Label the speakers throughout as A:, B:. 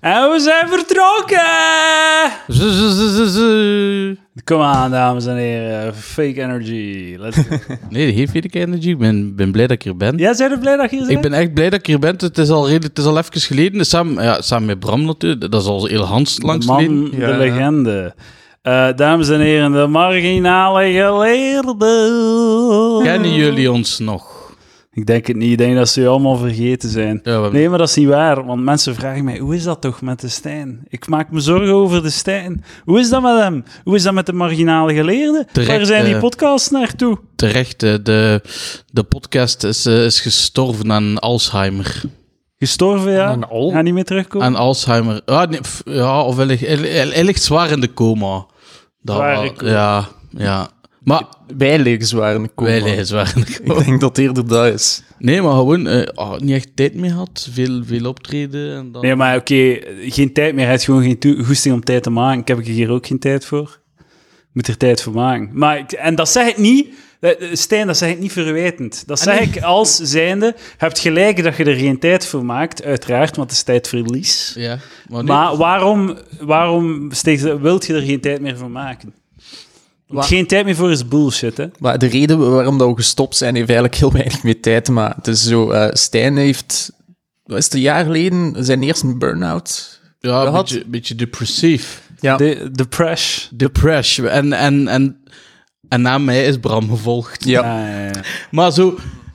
A: En we zijn vertrokken!
B: Z- z- z- z- z-
A: Kom aan, dames en heren. Fake energy. Let's go.
B: Nee, geef je de energy. Ik ben, ben blij dat ik hier ben.
A: Jij bent er blij dat je hier bent?
B: Ik ben echt blij dat ik hier ben. Het is al, redelijk, het is al even geleden. Samen, ja, samen met Bram natuurlijk. Dat is al heel Hans langs
A: de man,
B: geleden.
A: de
B: Ja.
A: legende. Eh, dames en heren, de marginale geleerde.
B: Kennen jullie ons nog?
A: Ik denk het niet. Ik denk dat ze je allemaal vergeten zijn.
B: Ja, we-
A: Nee, maar dat is niet waar. Want mensen vragen mij, hoe is dat toch met de Stijn? Ik maak me zorgen over de Stijn. Hoe is dat met hem? Hoe is dat met de marginale geleerden?
B: Terecht,
A: Waar zijn die
B: eh,
A: podcasts naartoe?
B: Terecht, eh, de, de podcast is, eh, is gestorven aan Alzheimer.
A: Gestorven, ja?
C: Aan al?
A: Ga niet meer terugkomen?
B: Aan Alzheimer. Ah, nee, pff, ja, of hij, ligt- hij, hij- hij ligt zwaar in de coma. Dat
A: Zwaar in
B: wel,
A: coma.
B: Ja, ja. Maar
C: Wij liggen zwaar in de coma.
B: wij liggen zwaar in de coma.
C: Ik denk dat het eerder dat is.
B: Nee, maar gewoon eh, ah, niet echt tijd meer had. Veel, veel optreden. En dan...
A: Nee, maar oké, geen tijd meer. Hij heeft gewoon geen toe- goesting om tijd te maken. Ik heb er hier ook geen tijd voor. Ik moet er tijd voor maken. Maar ik- en dat zeg ik niet, eh, eh, Stijn, dat zeg ik niet verwijtend. Dat zeg ik als zijnde, je hebt gelijk dat je er geen tijd voor maakt, uiteraard, want het is tijdverlies.
B: Ja, maar, nee.
A: Maar waarom, waarom steekt- wilt je er geen tijd meer voor maken? Want geen tijd meer voor is bullshit, hè?
C: Maar de reden waarom dat we gestopt zijn, heeft eigenlijk heel weinig met tijd. Maar het is zo, eh, Stijn heeft, wat is het, een jaar geleden, zijn eerste burn-out
B: ja, een
C: had-
B: beetje, beetje depressief.
C: Ja.
A: De, de press.
B: Depressie. En, en, en, en na mij is Bram gevolgd.
C: Ja.
A: Ah, ja, ja.
B: Maar zo,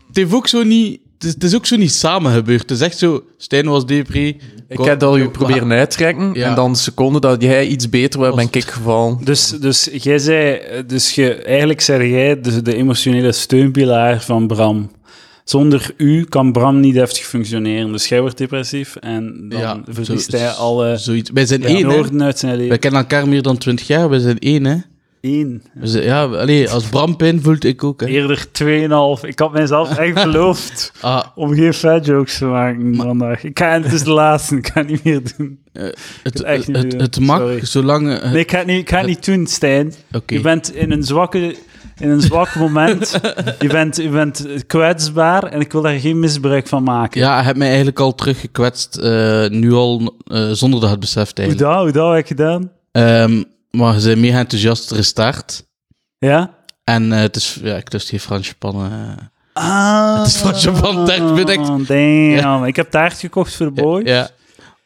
B: het, heeft ook zo niet, het, is, het is ook zo niet samen gebeurd. Het is echt zo, Stijn was depri.
C: Ik heb dat u proberen uittrekken.
B: Ja.
C: En dan de seconde dat jij iets beter werd, ben ik gevallen.
A: Dus, dus jij zei, eh, dus je, eigenlijk zeg jij de, de emotionele steunpilaar van Bram. Zonder u kan Bram niet heftig functioneren. Dus jij wordt depressief en dan
B: Ja,
A: verliest
B: zo-
A: hij alle
B: Zoiets. Wij zijn één, hè.
A: noorden uit zijn
B: Wij
A: leven.
B: kennen elkaar meer dan twintig jaar. Wij zijn één, hè.
A: Eén.
B: We zijn- ja, allee, als Bram pijn voelt, ik ook, hè.
A: Eerder 2,5. Ik had mezelf echt beloofd
B: Ah,
A: om geen fat jokes te maken vandaag. Ik kan, het is de laatste, ik kan niet meer doen.
B: het,
A: echt
B: het,
A: niet
B: het,
A: doen.
B: mag,
A: Sorry.
B: zolang... eh,
A: Nee, ik ga het niet, ik ga het niet doen, Stijn.
B: Oké.
A: Je bent in een, zwakke, in een zwak moment. je, bent, je bent kwetsbaar en ik wil daar geen misbruik van maken.
B: Ja, hij heeft mij eigenlijk al teruggekwetst, eh, nu al, eh, zonder dat hij het beseft,
A: Hoe
B: eigenlijk.
A: dat, hoe dat heb ik gedaan?
B: Ehm, maar ze zijn mega enthousiast gestart.
A: Ja?
B: En eh, het is, ja, ik lust geen Franse pannen. eh.
A: Ah,
B: Het is van Japan taart bedekt.
A: Damn, ik heb taart gekocht voor de boys.
B: Ja.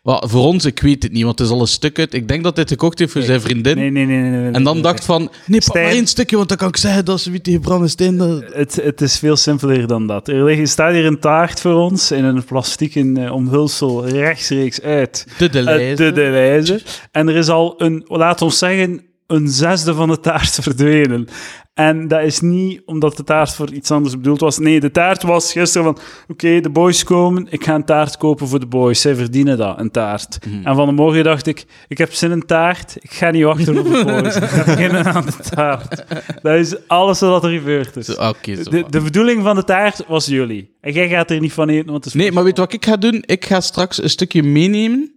B: Wel, voor ons, ik weet het niet, want het is al een stuk uit. Ik denk dat hij het gekocht heeft voor zijn vriendin.
A: Nee, nee, nee. nee, nee,
B: En dan
A: nee.
B: dacht van, nee, pak
A: Stijn. Eh,
B: maar één stukje, want dan kan ik zeggen dat ze wie tegen Bram en Stijn... dat-
A: Het, het is veel simpeler dan dat. Er ligt- er staat hier een taart voor ons in een plastieken eh, omhulsel rechtstreeks uit
B: De de
A: uit
B: lijst.
A: de wijze. En er is al een, laat ons zeggen, een zesde van de taart verdwenen. En dat is niet omdat de taart voor iets anders bedoeld was. Nee, de taart was gisteren van: oké, de boys komen, ik ga een taart kopen voor de boys. Zij verdienen dat, een taart.
B: Mhm.
A: En van de morgen dacht ik: ik heb zin in een taart, ik ga niet wachten op de boys. ik ga beginnen aan de taart. Dat is alles wat er gebeurd is.
B: Ah, Oké, zo
A: De,
B: maar.
A: de bedoeling van de taart was jullie. En jij gaat er niet van eten, want het is
B: Nee, maar weet je wat ik ga doen? Ik ga straks een stukje meenemen.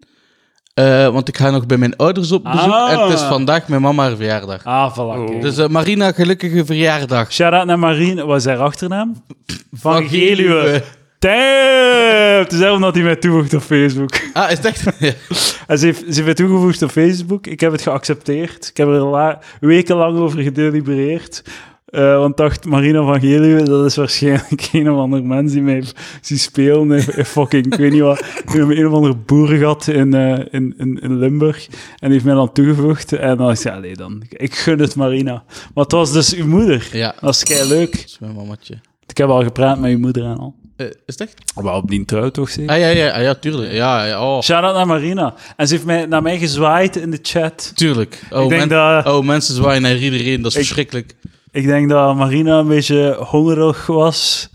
B: eh, want ik ga nog bij mijn ouders op bezoek.
A: Ah.
B: En het is vandaag mijn mama haar verjaardag.
A: Ah, voilà. kijk.
B: Dus eh, Marina, gelukkige verjaardag.
A: Shout-out naar Marien. Wat is haar achternaam? Van
B: Van
A: Geluwe.
B: Geluwe.
A: Damn! Het is daarom dat hij mij toevoegt op Facebook.
B: Ah, is het echt? Ja.
A: En ze heeft, ze heeft mij toegevoegd op Facebook. Ik heb het geaccepteerd. Ik heb er la- wekenlang over gedelibereerd. Eh, want ik dacht, Marina van Geluwe, dat is waarschijnlijk een of ander mens die mij ziet spelen. in- in fucking, ik weet niet wat. Een een of ander boerengat in, eh, in, in, in Limburg. En die heeft mij dan toegevoegd. En dan dacht ik, ja, nee dan. Ik gun het Marina. Maar het was dus uw moeder.
B: ja, dat
A: Dat is kei leuk.
B: is mijn mamatje.
A: Ik heb al gepraat met je moeder en al.
B: Eh, is het echt?
A: Wel op die trouw toch zeker?
B: Ah, ja, ja, ah, ja, tuurlijk. Ja, ja, oh.
A: Shout-out naar Marina. En ze heeft mij, naar mij gezwaaid in de chat.
B: Tuurlijk. Oh,
A: ik, denk
B: men-
A: dat,
B: oh, mensen zwaaien naar iedereen, dat is
A: Ik-
B: verschrikkelijk.
A: ik denk dat Marina een beetje hongerig was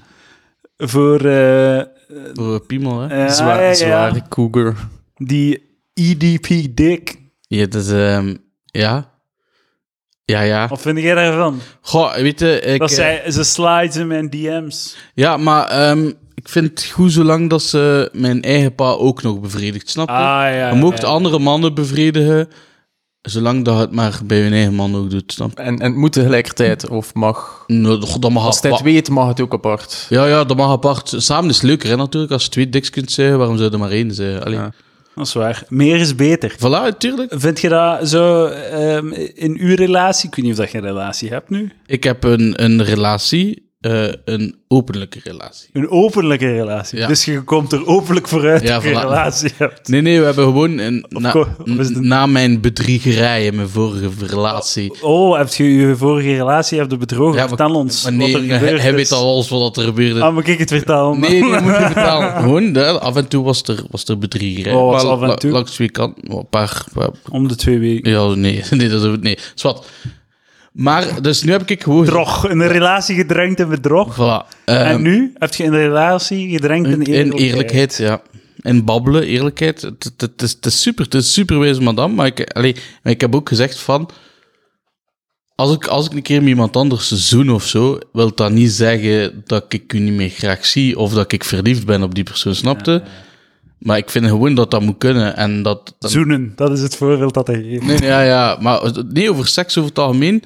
A: voor eh, eh,
B: Voor eh, Piemel, hè?
C: Zwaar,
A: ja, ja, ja.
C: Zware cougar.
A: die E EDP-dik.
B: Ja, dat is... ehm, ja. Ja, ja.
A: Wat vind jij daarvan?
B: Goh, weet je, ik...
A: dat
B: eh,
A: zij, ze slides in mijn DM's.
B: Ja, maar ehm, ik vind het goed zolang dat ze mijn eigen pa ook nog bevredigt, snap je?
A: Ah, ja.
B: je mocht
A: ja.
B: andere mannen bevredigen, zolang dat het maar bij hun eigen man ook doet, snap je?
C: En, en het moet tegelijkertijd, of mag.
B: Nou, goh, dat mag
C: Als hij het
B: apart.
C: weet, mag het ook apart.
B: Ja, ja, dat mag apart. Samen is het leuker, hè, natuurlijk. Als je twee diks kunt zeggen, waarom zou je er maar één zeggen? Allee.
C: Ja.
A: dat is waar. Meer is beter.
B: Voilà, tuurlijk.
A: Vind je dat zo ehm, in uw relatie? Ik weet niet of dat je een relatie hebt nu.
B: Ik heb een, een relatie, eh, een openlijke relatie.
A: Een openlijke relatie.
B: Ja.
A: Dus je komt er openlijk vooruit
B: Ja,
A: dat je een
B: voilà.
A: relatie hebt.
B: Nee, nee, we hebben gewoon een, na,
A: course, of is het een-
B: na mijn bedriegerij in mijn vorige relatie.
A: Oh, heb je je vorige relatie hebt de bedrogen?
B: Ja, maar-
A: Vertel ons
B: Maar
A: wat
B: nee,
A: er gebeurd
B: hij
A: is.
B: weet al alles wat er gebeurde.
A: Ah, moet ik het vertellen?
B: Nee, nee, moet je betalen. Gewoon, hè, af en toe was er, was er bedriegerij.
A: Oh, was
B: Maar
A: af en
B: la-
A: toe?
B: Langs twee kanten. Oh, Een paar, paar-
A: Om de twee weken.
B: Ja, nee, nee, dat is ook- nee. Zwat. Maar, dus nu heb ik gewoon...
A: Bedrog. In een relatie gedrenkt in bedrog.
B: Voilà. Ehm,
A: en nu heb je in een relatie gedrenkt in
B: in
A: eerlijkheid.
B: eerlijkheid, ja. En babbelen, eerlijkheid. Het, het, het is, het is super, het is super wees, madame. Maar ik, allee, maar ik heb ook gezegd van... Als ik, als ik een keer met iemand anders zoen of zo, wil dat niet zeggen dat ik u niet meer graag zie of dat ik verliefd ben op die persoon, snapte? Maar ik vind gewoon dat dat moet kunnen en dat... dat-
A: Zoenen, dat is het voorbeeld dat hij geeft.
B: nee, nee, ja, ja, maar het- niet over seks over het algemeen.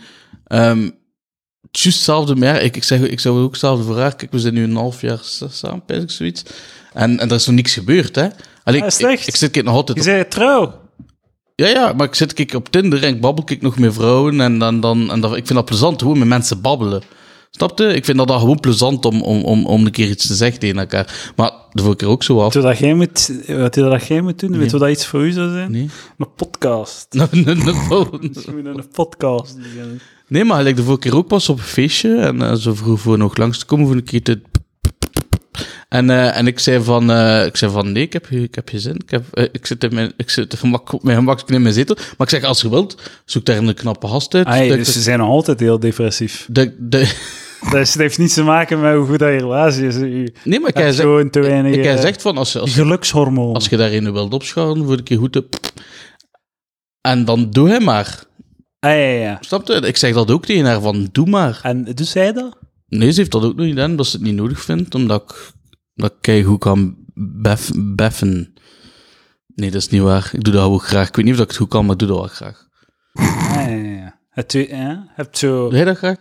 B: Ehm het is juist hetzelfde, maar ja, ik, ik, zeg, ik zeg ook hetzelfde voor haar. Kijk, we zijn nu een half jaar sa- samen, pijs ik zoiets. En, en er is nog niks gebeurd, hè. Allee,
A: Ah,
B: ik,
A: is het
B: ik,
A: echt?
B: ik zit kijk nog altijd
A: Je
B: op,
A: zei trouw.
B: Ja, ja, maar ik zit kijk op Tinder en ik babbel kijk nog met vrouwen. En, dan, dan, en dat, ik vind dat plezant, gewoon met mensen babbelen. Snap je? Ik vind dat, dat gewoon plezant om, om, om, om een keer iets te zeggen tegen elkaar. Maar de vorige keer ook zo af.
A: Weet je wat jij moet, wat je dat jij moet doen? Weet je wat dat iets voor u zou zijn?
B: Nee.
A: Een podcast.
B: Nou, nou, nou,
A: Dus je moet een podcast beginnen.
B: Nee, maar gelijk de vorige keer ook was op een feestje. En eh, ze vroeg voor nog langs te komen voor een keer te... En, eh, en ik, zei van, eh, ik zei van, nee, ik heb, ge- ik heb geen zin. Ik, heb, eh, ik zit, in mijn, ik zit gemak, op mijn gemak in mijn zetel. Maar ik zeg, als je wilt, zoek daar een knappe gast uit.
A: Ai,
B: Dat-
A: dus ze zijn nog altijd heel depressief.
B: dat- dat-
A: Dus het heeft niets te maken met hoe goed dat je relatie is. Je
B: nee, maar ik hij
A: hebt
B: zegt,
A: gewoon te weinig...
B: ik, hij
A: eh,
B: zegt van, als, je- als,
A: gelukshormoon.
B: als je daarin wilt opschouwen, voor een keer goed te... En dan doe hij maar.
A: Ah, ja, ja, ja.
B: Snap je? Ik zeg dat ook tegen haar, van, doe maar.
A: En doet zij dat?
B: Nee, ze heeft dat ook nog gedaan, omdat ze het niet nodig vindt, omdat ik, dat ik goed kan bef, beffen. Nee, dat is niet waar. Ik doe dat ook graag. Ik weet niet of ik het goed kan, maar ik doe dat wel graag.
A: Ah, ja, ja, ja. Het twee- ja, Heb zo...
B: Doe jij dat graag?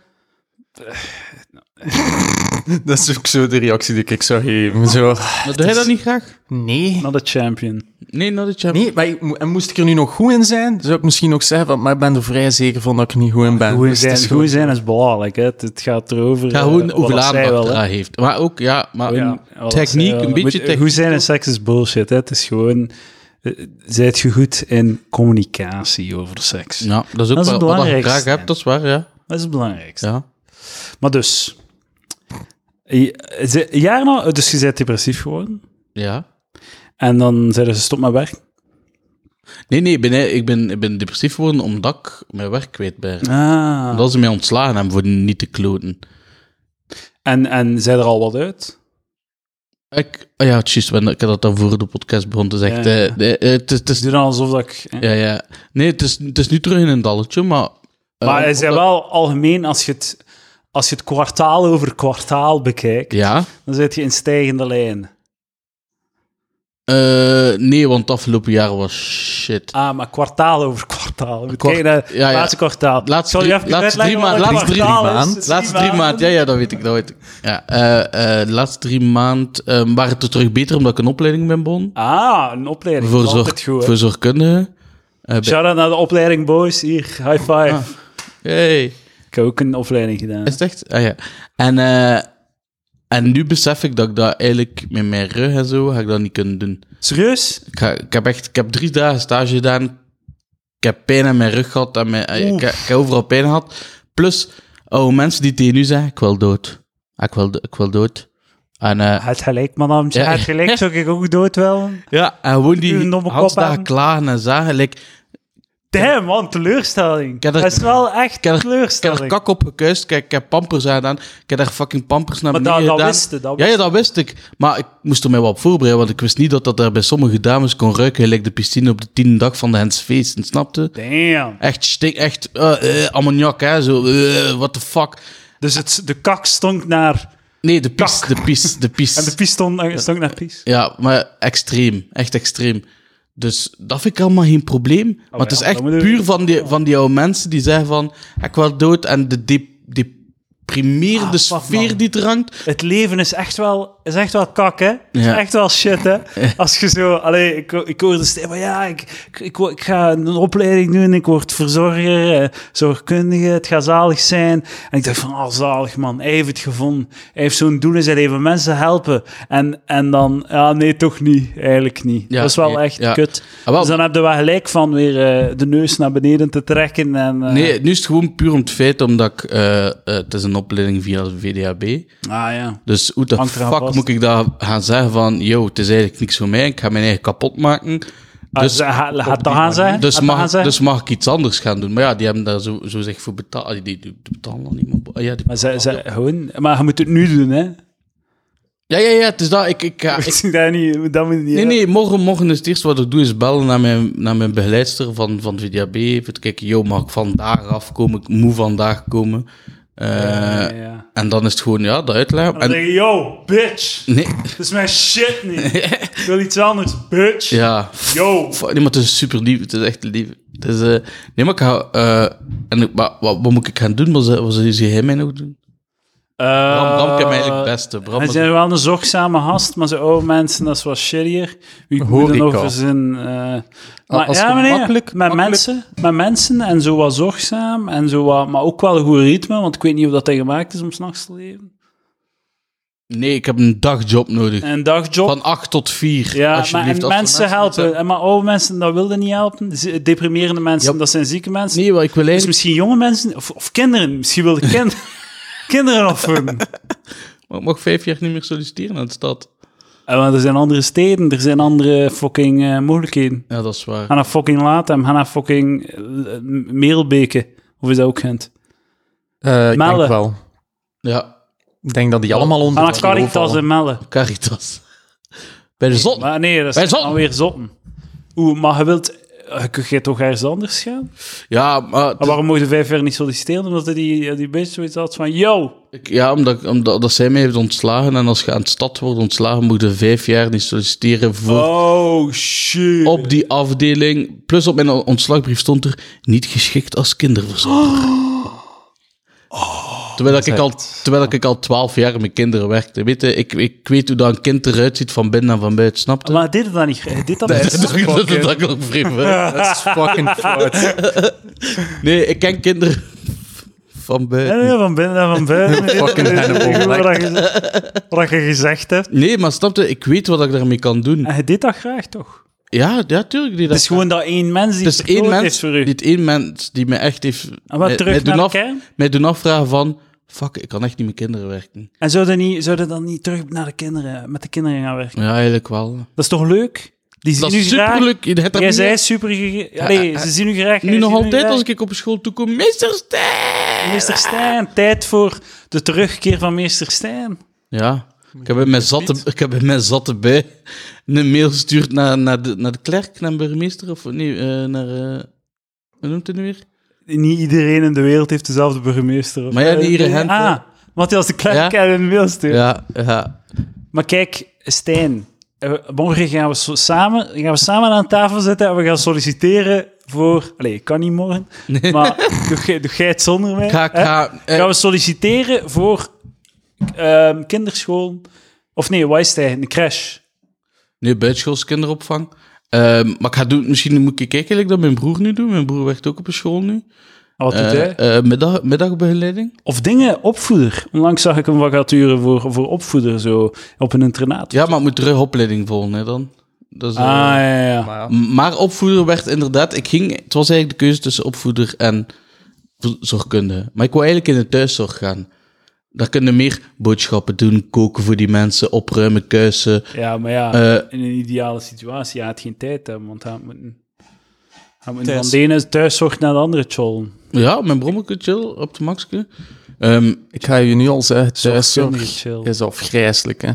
C: Dat is ook zo de reactie die ik zou geven. Zo.
B: Maar doe jij dat niet graag?
C: Nee.
A: Not a champion.
B: Nee, nou dat je...
C: Nee, maar ik mo- en moest ik er nu nog goed in zijn, zou ik misschien ook zeggen, van, maar ik ben er vrij zeker van dat ik er niet goed in ben.
A: Goed
C: Dus het
A: zijn,
C: is
A: goed zijn is belangrijk. Hè. Het, het gaat erover
B: Ja,
A: eh,
B: gewoon
A: wat
B: hoeveel
A: dat zij
B: aandacht
A: wil, hè.
B: dat heeft. Maar ook, ja, maar
A: Ja,
B: een
A: wat dat zij
B: techniek,
A: wil.
B: een
A: Moet-
B: beetje
A: eh,
B: techniek.
A: Goed zijn in seks is bullshit. Hè. Het is gewoon... eh, Zijt je goed in communicatie over seks?
B: Ja, dat
A: Dat
B: is ook
A: is
B: wel
A: het
B: wat ik
A: belangrijkste.
B: graag heb, dat is waar, ja.
A: Dat is het belangrijkste.
B: ja.
A: Maar dus... je- ze- Jaar na, dus je bent depressief geworden.
B: ja.
A: En dan zeiden ze stop met werk.
B: Nee, nee, ik ben, ik, ben, ik ben depressief geworden omdat ik mijn werk kwijt ben.
A: Ah.
B: Omdat ze mij ontslagen hebben voor niet te kloten.
A: En, en zei er al wat uit?
B: Ik, ah ja, juist, want ik had dat dan voor de podcast begon te zeggen.
A: Ja, ja.
B: Eh, nee, eh, het is- het
A: Ik
B: is-
A: doe dan alsof dat ik... hè.
B: ja, ja. Nee, het is, het is nu terug in een dalletje, maar... eh,
A: Maar hij zei
B: omdat-
A: wel algemeen, als je het, als je het kwartaal over kwartaal bekijkt,
B: Ja.
A: dan zit je in stijgende lijn.
B: Eh, nee, want het afgelopen jaar was shit.
A: Ah, maar kwartaal over kwartaal. We
B: Kwart-
A: kijken naar het
B: ja, ja.
A: laatste kwartaal.
B: Laatste
A: Zal je
B: drie-
A: even
B: laatste
A: uitleggen wat
B: drie maanden-
A: een
B: laatste drie
A: kwartaal is?
C: maanden.
A: Het is
B: Laatste drie maanden, ja, ja, dat weet ik, dat weet ik. Ja, eh, eh, de laatste drie maanden eh, waren het er terug beter omdat ik een opleiding ben begonnen.
A: Ah, een opleiding.
B: Voor,
A: Voor
B: zorg,
A: Altijd goed, hè.
B: voor zorgkundigen. Eh, bij-
A: Shout-out naar de opleiding, boys. Hier, high five.
B: Ah. hey.
A: Ik heb ook een opleiding gedaan.
B: Is het echt? Ah ja. En, eh, en nu besef ik dat ik dat eigenlijk met mijn rug en zo, ga ik dat niet kunnen doen.
A: Serieus?
B: Ik, ga, ik heb echt, ik heb drie dagen stage gedaan. Ik heb pijn aan mijn rug gehad. En mijn, eh, ik,
A: Oeh.
B: ik heb overal pijn gehad. Plus, oh, mensen die tegen u zeggen, ik wil dood. Ah, Ik wil, do- ik wil dood. En, eh,
A: Het gelijk, madame.
B: Ja.
A: Het gelijk. Zou ik ook dood wel?
B: ja, en gewoon
A: Uw
B: die
A: domme kop
B: hans daar
A: aan.
B: klagen en zagen. Like,
A: Damn, man, teleurstelling.
B: heb er-
A: dat is wel echt
B: ik, heb er, ik heb
A: teleurstelling.
B: er kak op gekuist. Ik, heb- ik heb pampers aangedaan. Ik heb daar fucking pampers naar
A: maar
B: beneden
A: dat, dat
B: gedaan.
A: wist je, dat
B: Ja,
A: wist
B: ja,
A: je.
B: dat wist ik. Maar ik moest er mij wat op voorbereiden, want ik wist niet dat dat daar bij sommige dames kon ruiken, gelijk de piscine op de tiende dag van de Hens Feest. En snapte?
A: Damn.
B: Echt stik, echt eh, eh, ammoniak, hè, zo, eh, what the fuck.
A: Dus het, de kak stonk naar...
B: Nee, de pis, de pis, de pis.
A: En de pies stonk, stonk naar pies.
B: Ja, maar extreem, echt extreem. Dus dat vind ik allemaal geen probleem. maar het
A: ja,
B: is
A: dan
B: echt
A: moeten we-
B: puur van die, van die oude mensen die zeggen van, ik wil dood en de dep- geprimeerde
A: Ah, fuck,
B: sfeer
A: man.
B: die er hangt.
A: Het leven is echt wel, is echt wel kak, hè? Is
B: Ja.
A: echt wel shit, hè? Als je zo... Allee, ik, ik hoorde steeds van... Ja, ik, ik, ik, wo- ik ga een opleiding doen. Ik word verzorger, eh, zorgkundige. Het gaat zalig zijn. En ik dacht van... Oh, zalig, man. Hij heeft het gevonden. Hij heeft zo'n doel in zijn leven. Mensen helpen. En, en dan... Ja, nee, toch niet. Eigenlijk niet.
B: Ja,
A: dat is wel
B: nee,
A: echt
B: ja.
A: kut.
B: Ah, wel.
A: Dus dan heb je wel gelijk van weer eh, de neus naar beneden te trekken. En, eh,
B: Nee, nu is het gewoon puur om het feit omdat ik... eh, eh, het is een opleiding via VDHB.
A: Ah, ja.
B: Dus hoe de
A: Hangt
B: fuck
A: eraan vast.
B: moet ik daar gaan zeggen van... Yo, het is eigenlijk niks voor mij. Ik ga mijn eigen kapot maken.
A: Dus,
B: Dus,
A: gaat dat gaan zijn?
B: dus,
A: Gaat dat gaan
B: mag,
A: zijn?
B: dus mag ik iets anders gaan doen. Maar ja, die hebben daar zo, zo zich voor betaald. Ah, Die, die, die betalen dan niet meer. Ja, die
A: Maar, ze, ze, gewoon, maar je moet het nu doen, hè?
B: Ja, ja, ja, het is dat. Ik, ik, ga- ik-
A: dat, niet, dat moet niet.
B: nee, nee, morgen, morgen is het eerste wat ik doe, is bellen naar mijn, naar mijn begeleidster van, van VDAB. Even te kijken, yo, mag ik vandaag afkomen? Ik moet vandaag komen. Eh,
A: ja.
B: En dan is het gewoon, ja, dat uitleggen.
A: Dan
B: En,
A: denk je, yo, bitch.
B: nee,
A: Dat is mijn shit niet. Ik wil iets anders, bitch.
B: ja.
A: Yo.
B: Fuck, Nee, maar het is super lief. Het is echt lief. Het is, eh, nee, maar ik ga... eh, en, ik- maar, wat, wat moet ik gaan doen? Wat, zou- wat zou jij mij nog doen? Bram, Bram kan mij eigenlijk het beste. Bram
A: Eh, Hij
B: is-
A: zijn wel een zorgzame gast, maar zijn oude mensen, dat is wat shittier. Wie
C: Hoor
A: moet dan
C: ik
A: over
C: al.
A: zijn... eh, maar
C: als
A: ja,
C: je
A: meneer,
C: makkelijk-
A: met,
C: makkelijk-
A: Mensen, met mensen en zo wat zorgzaam, en zo wat, maar ook wel een goed ritme, want ik weet niet of dat hij gemaakt is om s'nachts te leven.
B: Nee, ik heb een dagjob nodig.
A: En een dagjob.
B: Van 8 tot 4.
A: Ja,
B: alsjeblieft.
A: maar en
B: Als er
A: mensen
B: iets
A: helpen.
B: hebben-
A: En maar oude mensen, dat wilden niet helpen. Z- Deprimerende mensen,
B: Ja.
A: dat zijn zieke mensen.
B: Nee, wat ik wil
A: Dus
B: eigenlijk...
A: misschien jonge mensen, of, of kinderen. Misschien wilden kind, kinderen opvoeden.
B: Maar ik mag vijf jaar niet meer solliciteren aan de stad.
A: Eh, Want er zijn andere steden, er zijn andere fucking eh, mogelijkheden.
B: Ja, dat is waar.
A: Ga naar fucking Latem, ga naar fucking eh, M- Merelbeke. Of is dat ook Gent?
C: Eh, ik
A: Melle.
C: denk wel.
B: Ja,
C: Ik denk dat die allemaal
A: Ga
C: onder
A: naar
C: het niveau
A: Caritas
C: vallen.
A: en Melle.
B: Caritas. Bij de zon.
A: Maar nee, dat
B: Bij
A: is
B: Zotten.
A: dan weer zotten. Oeh, maar je wilt... eh, Kun je toch ergens anders gaan?
B: Ja, maar... het
A: Maar
B: is-
A: waarom mocht je vijf jaar niet solliciteren? Omdat hij die, die bitch zoiets had van... Yo,
B: ik- ja, omdat, omdat, omdat zij mij heeft ontslagen. En als je aan de stad wordt ontslagen, moet je vijf jaar niet solliciteren voor...
A: Oh shit.
B: Op die afdeling. Plus op mijn ontslagbrief stond er niet geschikt als kinderverzorger. terwijl, ik al, terwijl ik al twaalf jaar met kinderen werkte. Weet je, ik, ik weet hoe dat een kind eruit ziet van binnen en van buiten. Snap je?
A: Maar dit is dan niet. eh, Dit dan
B: Dat is
A: niet.
B: toch- dat is toch ook vreemd.
C: Dat is fucking fout.
B: Nee, ik ken kinderen van
A: Nee,
B: buiten.
A: nee, van binnen en van buiten.
C: Fucking
A: Dit is
C: Hannibal
A: gewoon
C: Lecter.
A: Wat je, wat je gezegd hebt.
B: Nee, maar snap je, ik weet wat ik daarmee kan doen.
A: En je deed dat graag, toch?
B: Ja, ja tuurlijk. Die dat
A: Het is gewoon dat één mens die
B: het is Dus één
A: verkloot
B: mens,
A: is voor u.
B: dit één mens die me echt heeft...
A: En wat
B: mij-
A: terug
B: mij
A: naar
B: doen
A: de
B: af-
A: kern?
B: Mij doen afvragen van... Fuck, ik kan echt niet met kinderen werken.
A: En zouden niet, zouden dan niet terug naar de kinderen, met de kinderen gaan werken?
B: Ja, eigenlijk wel.
A: Dat is toch leuk? Die zien
B: Dat
A: nu
B: is
A: graag.
B: superleuk. Je hebt dat
A: Jij
B: niet-
A: zei super. gege- Allee, ze zien u graag.
B: Nu
A: jij
B: nog
A: ziet u
B: altijd,
A: graag.
B: als ik op school toe kom... Meester Stijn!
A: Meester Stijn, tijd voor de terugkeer van Meester Stijn.
B: Ja. Ik heb, in mijn zatte, ik heb in mijn zatte bij een mail gestuurd naar, naar, de, naar de klerk, naar de burgemeester, of nee, eh, naar... eh, hoe noemt het nu weer?
A: niet iedereen in de wereld heeft dezelfde burgemeester. of-
B: Maar ja, die hier in Gent,
A: Ah, Matthias de Klerk
B: Ja.
A: en een mailstuur.
B: Ja, ja.
A: Maar kijk, Stijn, eh, morgen gaan we, zo samen, gaan we samen aan tafel zitten en we gaan solliciteren voor... Allee, ik kan niet morgen, maar doe, jij- doe jij het zonder mij.
B: Ga,
A: hè?
B: ga, eh,
A: Gaan we solliciteren voor ehm kinderschool... Of nee, wat is het eigenlijk? Een crash.
B: Nee, buitenschoolse kinderopvang. Ehm, maar ik ga doen, misschien moet ik kijken like dat mijn broer nu doet. Mijn broer werkt ook op een school nu.
A: En Ah, wat doet
B: Eh,
A: hij?
B: eh, middag, middagbegeleiding.
A: Of dingen, opvoeder. Onlangs zag ik een vacature voor, voor opvoeder, zo, op een internaat.
B: Ja, maar ik moet terug opleiding volgen hè, dan. Dat is, eh,
A: Ah, ja, ja.
C: Maar ja,
B: m- Maar opvoeder werd inderdaad... Ik ging, het was eigenlijk de keuze tussen opvoeder en v- zorgkunde. Maar ik wou eigenlijk in de thuiszorg gaan. Daar kunnen meer boodschappen doen, koken voor die mensen, opruimen, kuisen.
A: Ja, maar ja,
B: Eh,
A: in een ideale situatie, hij had geen tijd hebben, want hij moet, hij moet
C: Thuis.
A: van de ene thuiszorg naar de andere tjollen.
B: Ja, mijn brommetje chill, op de maxke. Ehm,
C: Ik ga je nu al zeggen,
A: Zorgkundige
C: thuiszorg
A: chill.
C: is afgrijselijk. Hè?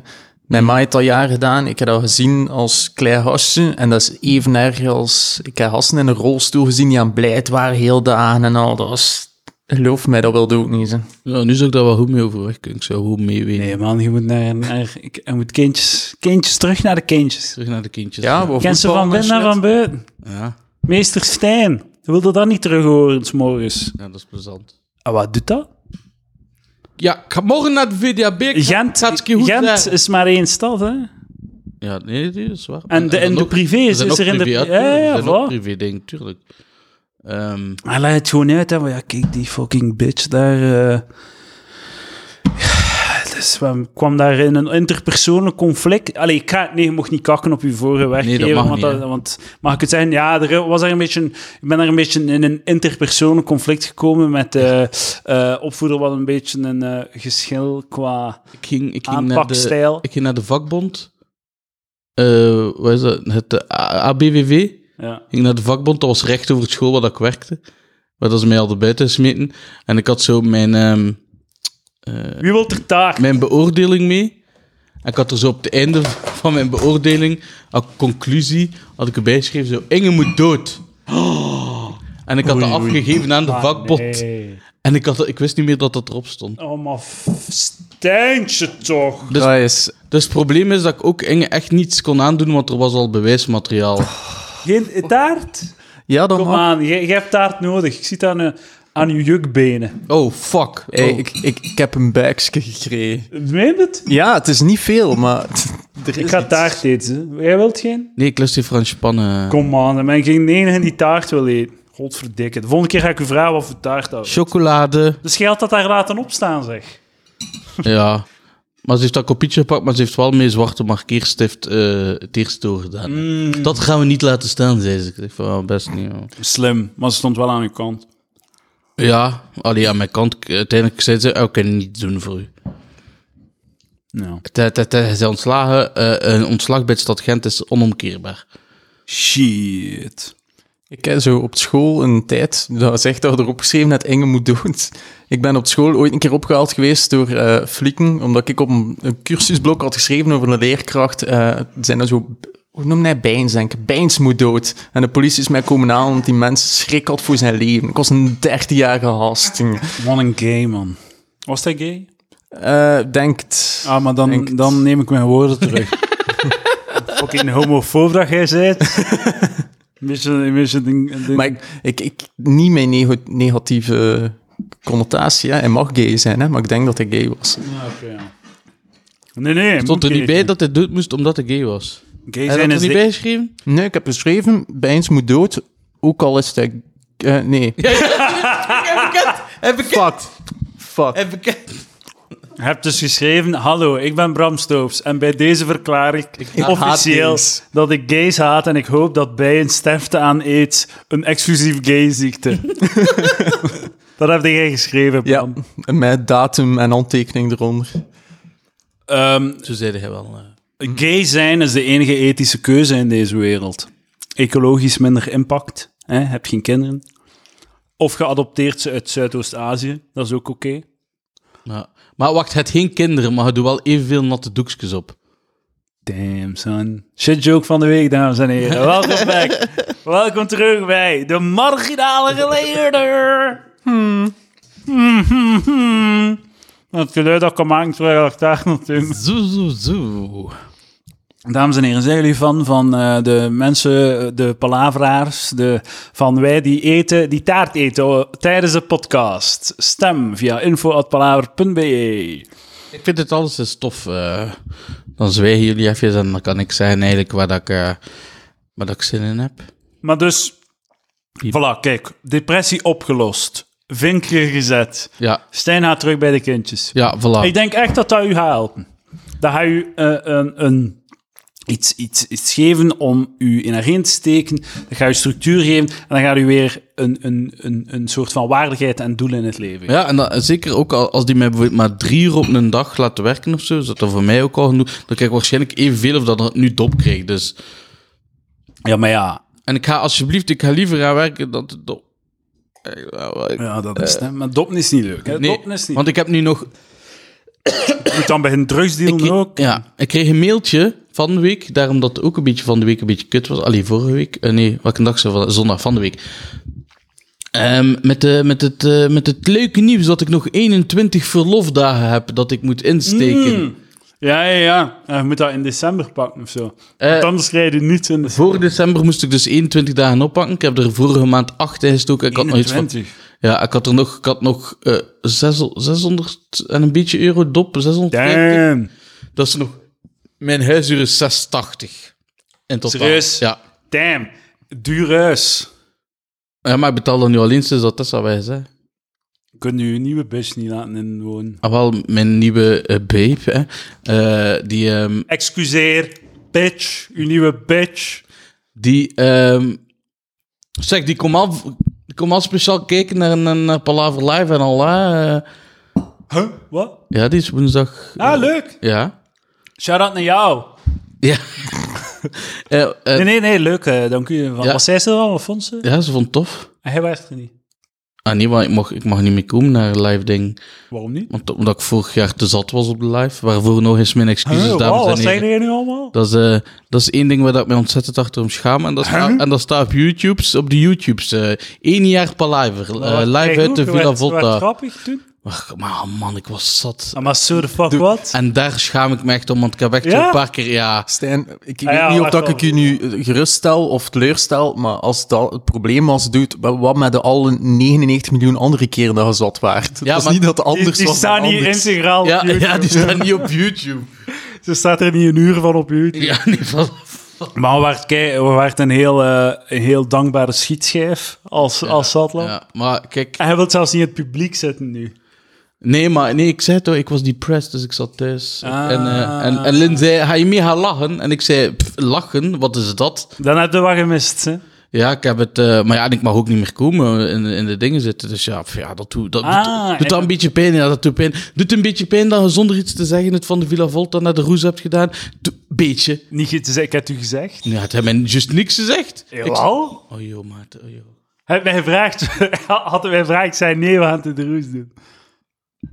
C: Mijn ma heeft dat jaar gedaan. Ik heb dat gezien als klein hasje. En dat is even erg als... Ik heb hassen in een rolstoel gezien die aan blijd waren heel dagen en al. Dat was... Geloof mij, dat wilde ook niet. Hè.
B: ja, nu zou ik daar wel goed mee overweg kunnen. Ik zou goed mee weten.
A: Nee man, je moet, naar, naar, ik- je moet kindjes, kindjes terug naar de kindjes.
B: Terug naar de kindjes.
C: Ja, we
A: Ken ze van binnen en van buiten.
B: Ja,
A: Meester Stijn, wilde dat niet terug horen, s morgens.
B: ja, dat is plezant.
A: Ah, wat doet dat?
B: Ja, ik ga morgen naar de VDAB. ik ga-
A: Gent,
B: gaat het een keer goed
A: Gent
B: zijn.
A: is maar één stad, hè?
B: Ja, nee, dat is waar.
A: En de-
B: dan
A: in de
B: ook-
A: privé is-
B: er zijn
A: is
B: ook
A: er in de-
B: privé-
A: ja, ja,
B: er zijn ook
A: voilà.
B: privé dingen, tuurlijk. Ehm,
A: Hij laat het gewoon uit, hè. Maar ja, kijk, die fucking bitch daar... eh. Ja, Dus we kwam daar in een interpersoonlijk conflict. Allee, ik ga het... Nee, je mocht niet kakken op je vorige werkgever.
B: mag
A: want,
B: niet,
A: dat-
B: hè.
A: want mag ik het zeggen? Ja, er was er een beetje... Ik ben daar een beetje in een interpersoonlijk conflict gekomen met eh eh, opvoeder. Wat een beetje een eh, geschil qua
B: ik, ging, ik, ging naar de,
A: aanpakstijl.
B: ik ging naar de vakbond. Eh wat is dat? Het eh, A- ABVV. Ik
A: Ja.
B: ging naar de vakbond. Dat was recht over het school waar dat ik werkte. Waar dat ze mij hadden buiten gesmeten. En ik had zo mijn... ehm,
A: Wie wil er taart?
B: mijn beoordeling mee. En ik had er zo op het einde van mijn beoordeling, als conclusie, had ik erbij geschreven zo, Inge moet dood. En ik had dat afgegeven aan de vakbond.
A: Ah, Nee.
B: En ik, had, dat- ik wist niet meer dat dat erop stond.
A: Oh, maar f- Stijntje toch?
B: Dus-
C: dat is...
B: Dus het probleem is dat ik ook Inge echt niets kon aandoen, want er was al bewijsmateriaal.
A: Geen taart?
C: Ja, dan
A: Kom
C: mag.
A: aan, jij jij hebt taart nodig. Ik zie het aan, eh, aan je jukbenen.
B: Oh, fuck. Oh.
C: Hey, ik, ik, ik heb een buikje gekregen.
A: Meen je het?
C: Ja, het is niet veel, maar... er
A: Ik
C: is
A: ga
C: iets.
A: taart eten. hè. Jij wilt geen?
B: Nee, ik lust die Franse pannen.
A: Kom aan, dan ben ik geen enige die taart wil eten. Godverdikke. De volgende keer ga ik u vragen wat voor taart dat is.
B: Chocolade.
A: Dus jij had dat daar laten opstaan, zeg.
B: ja. Maar ze heeft dat kopietje gepakt, maar ze heeft wel mee zwarte markeerstift eh, het eerst doorgedaan. Dat gaan we niet laten staan, zei ze. Ik zeg van, ah, best niet, joh.
A: Slim, maar ze stond wel aan uw kant.
B: Ja, allee, aan mijn kant. k- Uiteindelijk zei ze, oh, ik kan het niet doen voor u.
A: Ja.
B: Te- te- te- Ze ontslagen, eh, een ontslag bij de stad Gent is onomkeerbaar.
A: Shit.
C: Ik heb zo op school een tijd, dat was echt dat erop geschreven dat Inge moet dood. Ik ben op school ooit een keer opgehaald geweest door eh flieken, omdat ik op een, een cursusblok had geschreven over een leerkracht. eh, er zijn er zo, hoe noemde hij Bijns, denk ik? Bijns moet dood. En de politie is mij komen halen, want die mens schrik had voor zijn leven. Ik was een dertienjarige hast.
A: Wat een gay, man. Was hij gay?
C: Eh denkt...
A: Ah, maar dan,
C: Denk het.
A: dan neem ik mijn woorden terug. Fucking homofoob dat jij bent. Een beetje, een beetje ding, ding-
C: Maar ik, ik, ik, niet mijn nego- negatieve connotatie. Hè. Hij mag gay zijn, hè, maar ik denk dat hij gay was.
A: Ah, oké, ja. Nee, nee.
B: Stond er
A: moet
B: niet bij dat hij dood moest omdat hij gay was.
A: Gay
B: Hij had
A: zijn is
B: er niet
A: dik.
B: bij geschreven?
C: Nee, ik heb beschreven, Bijns moet dood, ook al is hij... eh, nee.
B: Heb ik
C: Fuck. Fuck.
B: Heb ik
A: Je hebt dus geschreven, hallo, ik ben Bram Stoops en bij deze verklaar ik, officieel
C: gays.
A: dat ik gays haat en ik hoop dat bij een sterfte aan aids een exclusief gayziekte. dat heb jij geschreven,
C: Ja,
A: Bram.
C: met datum en handtekening eronder.
A: Ehm,
B: Zo zei hij wel. eh.
A: Gay zijn is de enige ethische keuze in deze wereld. Ecologisch minder impact, hè? heb geen kinderen. Of geadopteerd ze uit Zuidoost-Azië, dat is ook oké.
B: Ja. Maar wacht, het geen kinderen, maar hij doet wel evenveel natte doekjes op.
A: Damn, son. Shit joke van de week, dames en heren. Welkom back. Welkom terug bij de marginale geleerder. Hmm, hmm, hmm. Dat geluid dat kan maken terwijl ik daar natuurlijk.
B: Zo, zo, zo.
A: Dames en heren, zijn jullie van, van eh, de mensen, eh, de palaveraars, de, van wij die eten, die taart eten oh, tijdens de podcast? Stem via info.palaver.be.
B: Ik vind het alles is tof. eh. dan zwijgen jullie even en dan kan ik zeggen eigenlijk waar dat ik, eh, waar dat ik zin in heb.
A: Maar dus, voilà, kijk, depressie opgelost. Vinkje gezet.
B: Ja,
A: Stijn gaat terug bij de kindjes.
B: ja voilà.
A: Ik denk echt dat dat u gaat helpen. Dat gaat u eh, een, een, iets, iets, iets geven om u in erin te steken. Dat gaat u structuur geven. En dan gaat u weer een, een, een, een soort van waardigheid en doel in het leven.
B: Ja, en dat, zeker ook al- als die mij bijvoorbeeld maar drie uur op een dag laat werken of zo, is dat dan voor mij ook al genoeg. Dan krijg ik waarschijnlijk evenveel of dat ik nu dop krijg. Dus.
A: Ja, maar ja.
B: En ik ga alsjeblieft, ik ga liever gaan werken dan te dop. Eh, ja, wel, ik-
A: Ja, dat is het, hè. Maar dopen is niet leuk. Hè?
B: Nee,
A: dopen is niet
B: want ik heb nu nog...
A: leuk. Moet dan bij een drugsdeal
B: ik-
A: ook.
B: Ja, ik kreeg een mailtje van de week, daarom dat het ook een beetje van de week een beetje kut was. Allee, vorige week. eh, nee, welke dag zo? Van- Zondag van de week. Ehm, met, de, met, het,
A: Mm.
B: eh, met het leuke nieuws dat ik nog 21 verlofdagen heb dat ik moet insteken.
A: Ja, ja, ja. En je moet dat in december pakken of zo.
B: Eh,
A: Want anders krijg je niets in december.
B: Voor december moest ik dus 21 dagen oppakken. Ik heb er vorige maand 8 ingestoken. Ik had nog iets van.
A: 21.
B: Ja, ik had er nog, ik had nog eh, zes- 600 en een beetje euro dop. 600
A: Damn.
B: Dat is nog. Mijn huisuur is 680. In totaal.
A: Serieus?
B: Ja.
A: Damn. Duur huis.
B: ja, maar ik betaal dan nu alleen sinds dat Tessa weg is. Hè.
A: Kun je je nieuwe bitch niet laten inwonen.
B: Ah, wel, mijn nieuwe eh, babe, hè, eh, die, ehm,
A: Excuseer. Bitch. Uw nieuwe bitch.
B: die, ehm, zeg, die komt al, die komt al speciaal kijken naar, naar, naar Palaver Live en al, hè. eh.
A: Huh? Wat?
B: ja, die is woensdag.
A: Ah, leuk.
B: Ja.
A: Shout-out naar jou.
B: Ja. Eh, eh,
A: Nee, nee, nee. Leuk. eh, dank u. Van,
B: Ja.
A: Was zij ze dan? Wat vond ze?
B: Ja, ze vond het tof.
A: En hij was er niet.
B: Ah, nee, maar ik mag, ik mag niet meer komen naar een live ding.
A: Waarom niet?
B: Want, omdat ik vorig jaar te zat was op de live. Waarvoor nog eens mijn excuses,
A: Huh,
B: dames
A: wow, Ah, wat
B: en heren.
A: zijn er hier nu allemaal?
B: Dat is, eh, dat is één ding waar dat ik mij ontzettend achter om schaam. En dat staat, en dat staat op YouTube's, op de YouTube's. eh één jaar per live. eh,
A: Wat- kijk
B: live uit
A: ook,
B: de
A: je
B: Villa
A: werd- je werd
B: Volta.
A: grappig toen.
B: Ach, Maar man, ik was zat.
A: Ah, Maar so the fuck
B: Doe-
A: what?
B: En daar schaam ik me echt om, want ik heb echt
A: Ja?
B: zo'n paar keer... Ja,
C: Stijn, ik weet
A: Ah ja,
C: niet of
A: wacht
C: dat
A: wel.
C: ik je nu eh, geruststel of teleurstel, maar als dat het probleem was, doet wat met de alle 99 miljoen andere keren dat je zat waart.
B: Ja,
C: Ja, dat is
B: maar
C: niet dat het
A: Die,
C: anders
A: die
C: was
A: staan
C: dan
A: hier
C: anders.
A: integraal op
B: ja, ja,
A: YouTube.
B: die staan niet op YouTube.
A: Ze staat er niet een uur van op YouTube.
B: Ja, nee, van...
A: Maar we waren, kei- we waren een, heel, eh, een heel dankbare schietschijf als, als Zatlan.
B: Ja, maar kijk...
A: En hij wil zelfs niet in het publiek zitten nu.
B: Nee, maar nee, ik zei toch, ik was depressed, dus ik zat thuis.
A: Ah.
B: En, eh, en, en Lynn zei, ga je mee gaan lachen? En ik zei, "Pff, lachen? Wat is dat?
A: Dan heb je wat gemist. Hè?
B: Ja, ik heb het. eh, maar ja, en ik mag ook niet meer komen in, in de dingen zitten. Dus ja, pff, ja dat, doet, dat
A: Ah,
B: doet,
A: en
B: doet dat
A: dat-
B: een beetje pijn. Ja, dat doet pijn. Doet een beetje pijn dat je zonder iets te zeggen het van de Villa Volta naar de Roes hebt gedaan. Doe- beetje.
A: Niet ge- ik heb het u gezegd.
B: Ja, het heeft mij juist niks gezegd.
A: Jawel.
B: Oh joh, Maarten. Oh, joh.
A: Hij had mij gevraagd, had hij mij gevraagd, ik zei nee, we gaan het in de roes doen.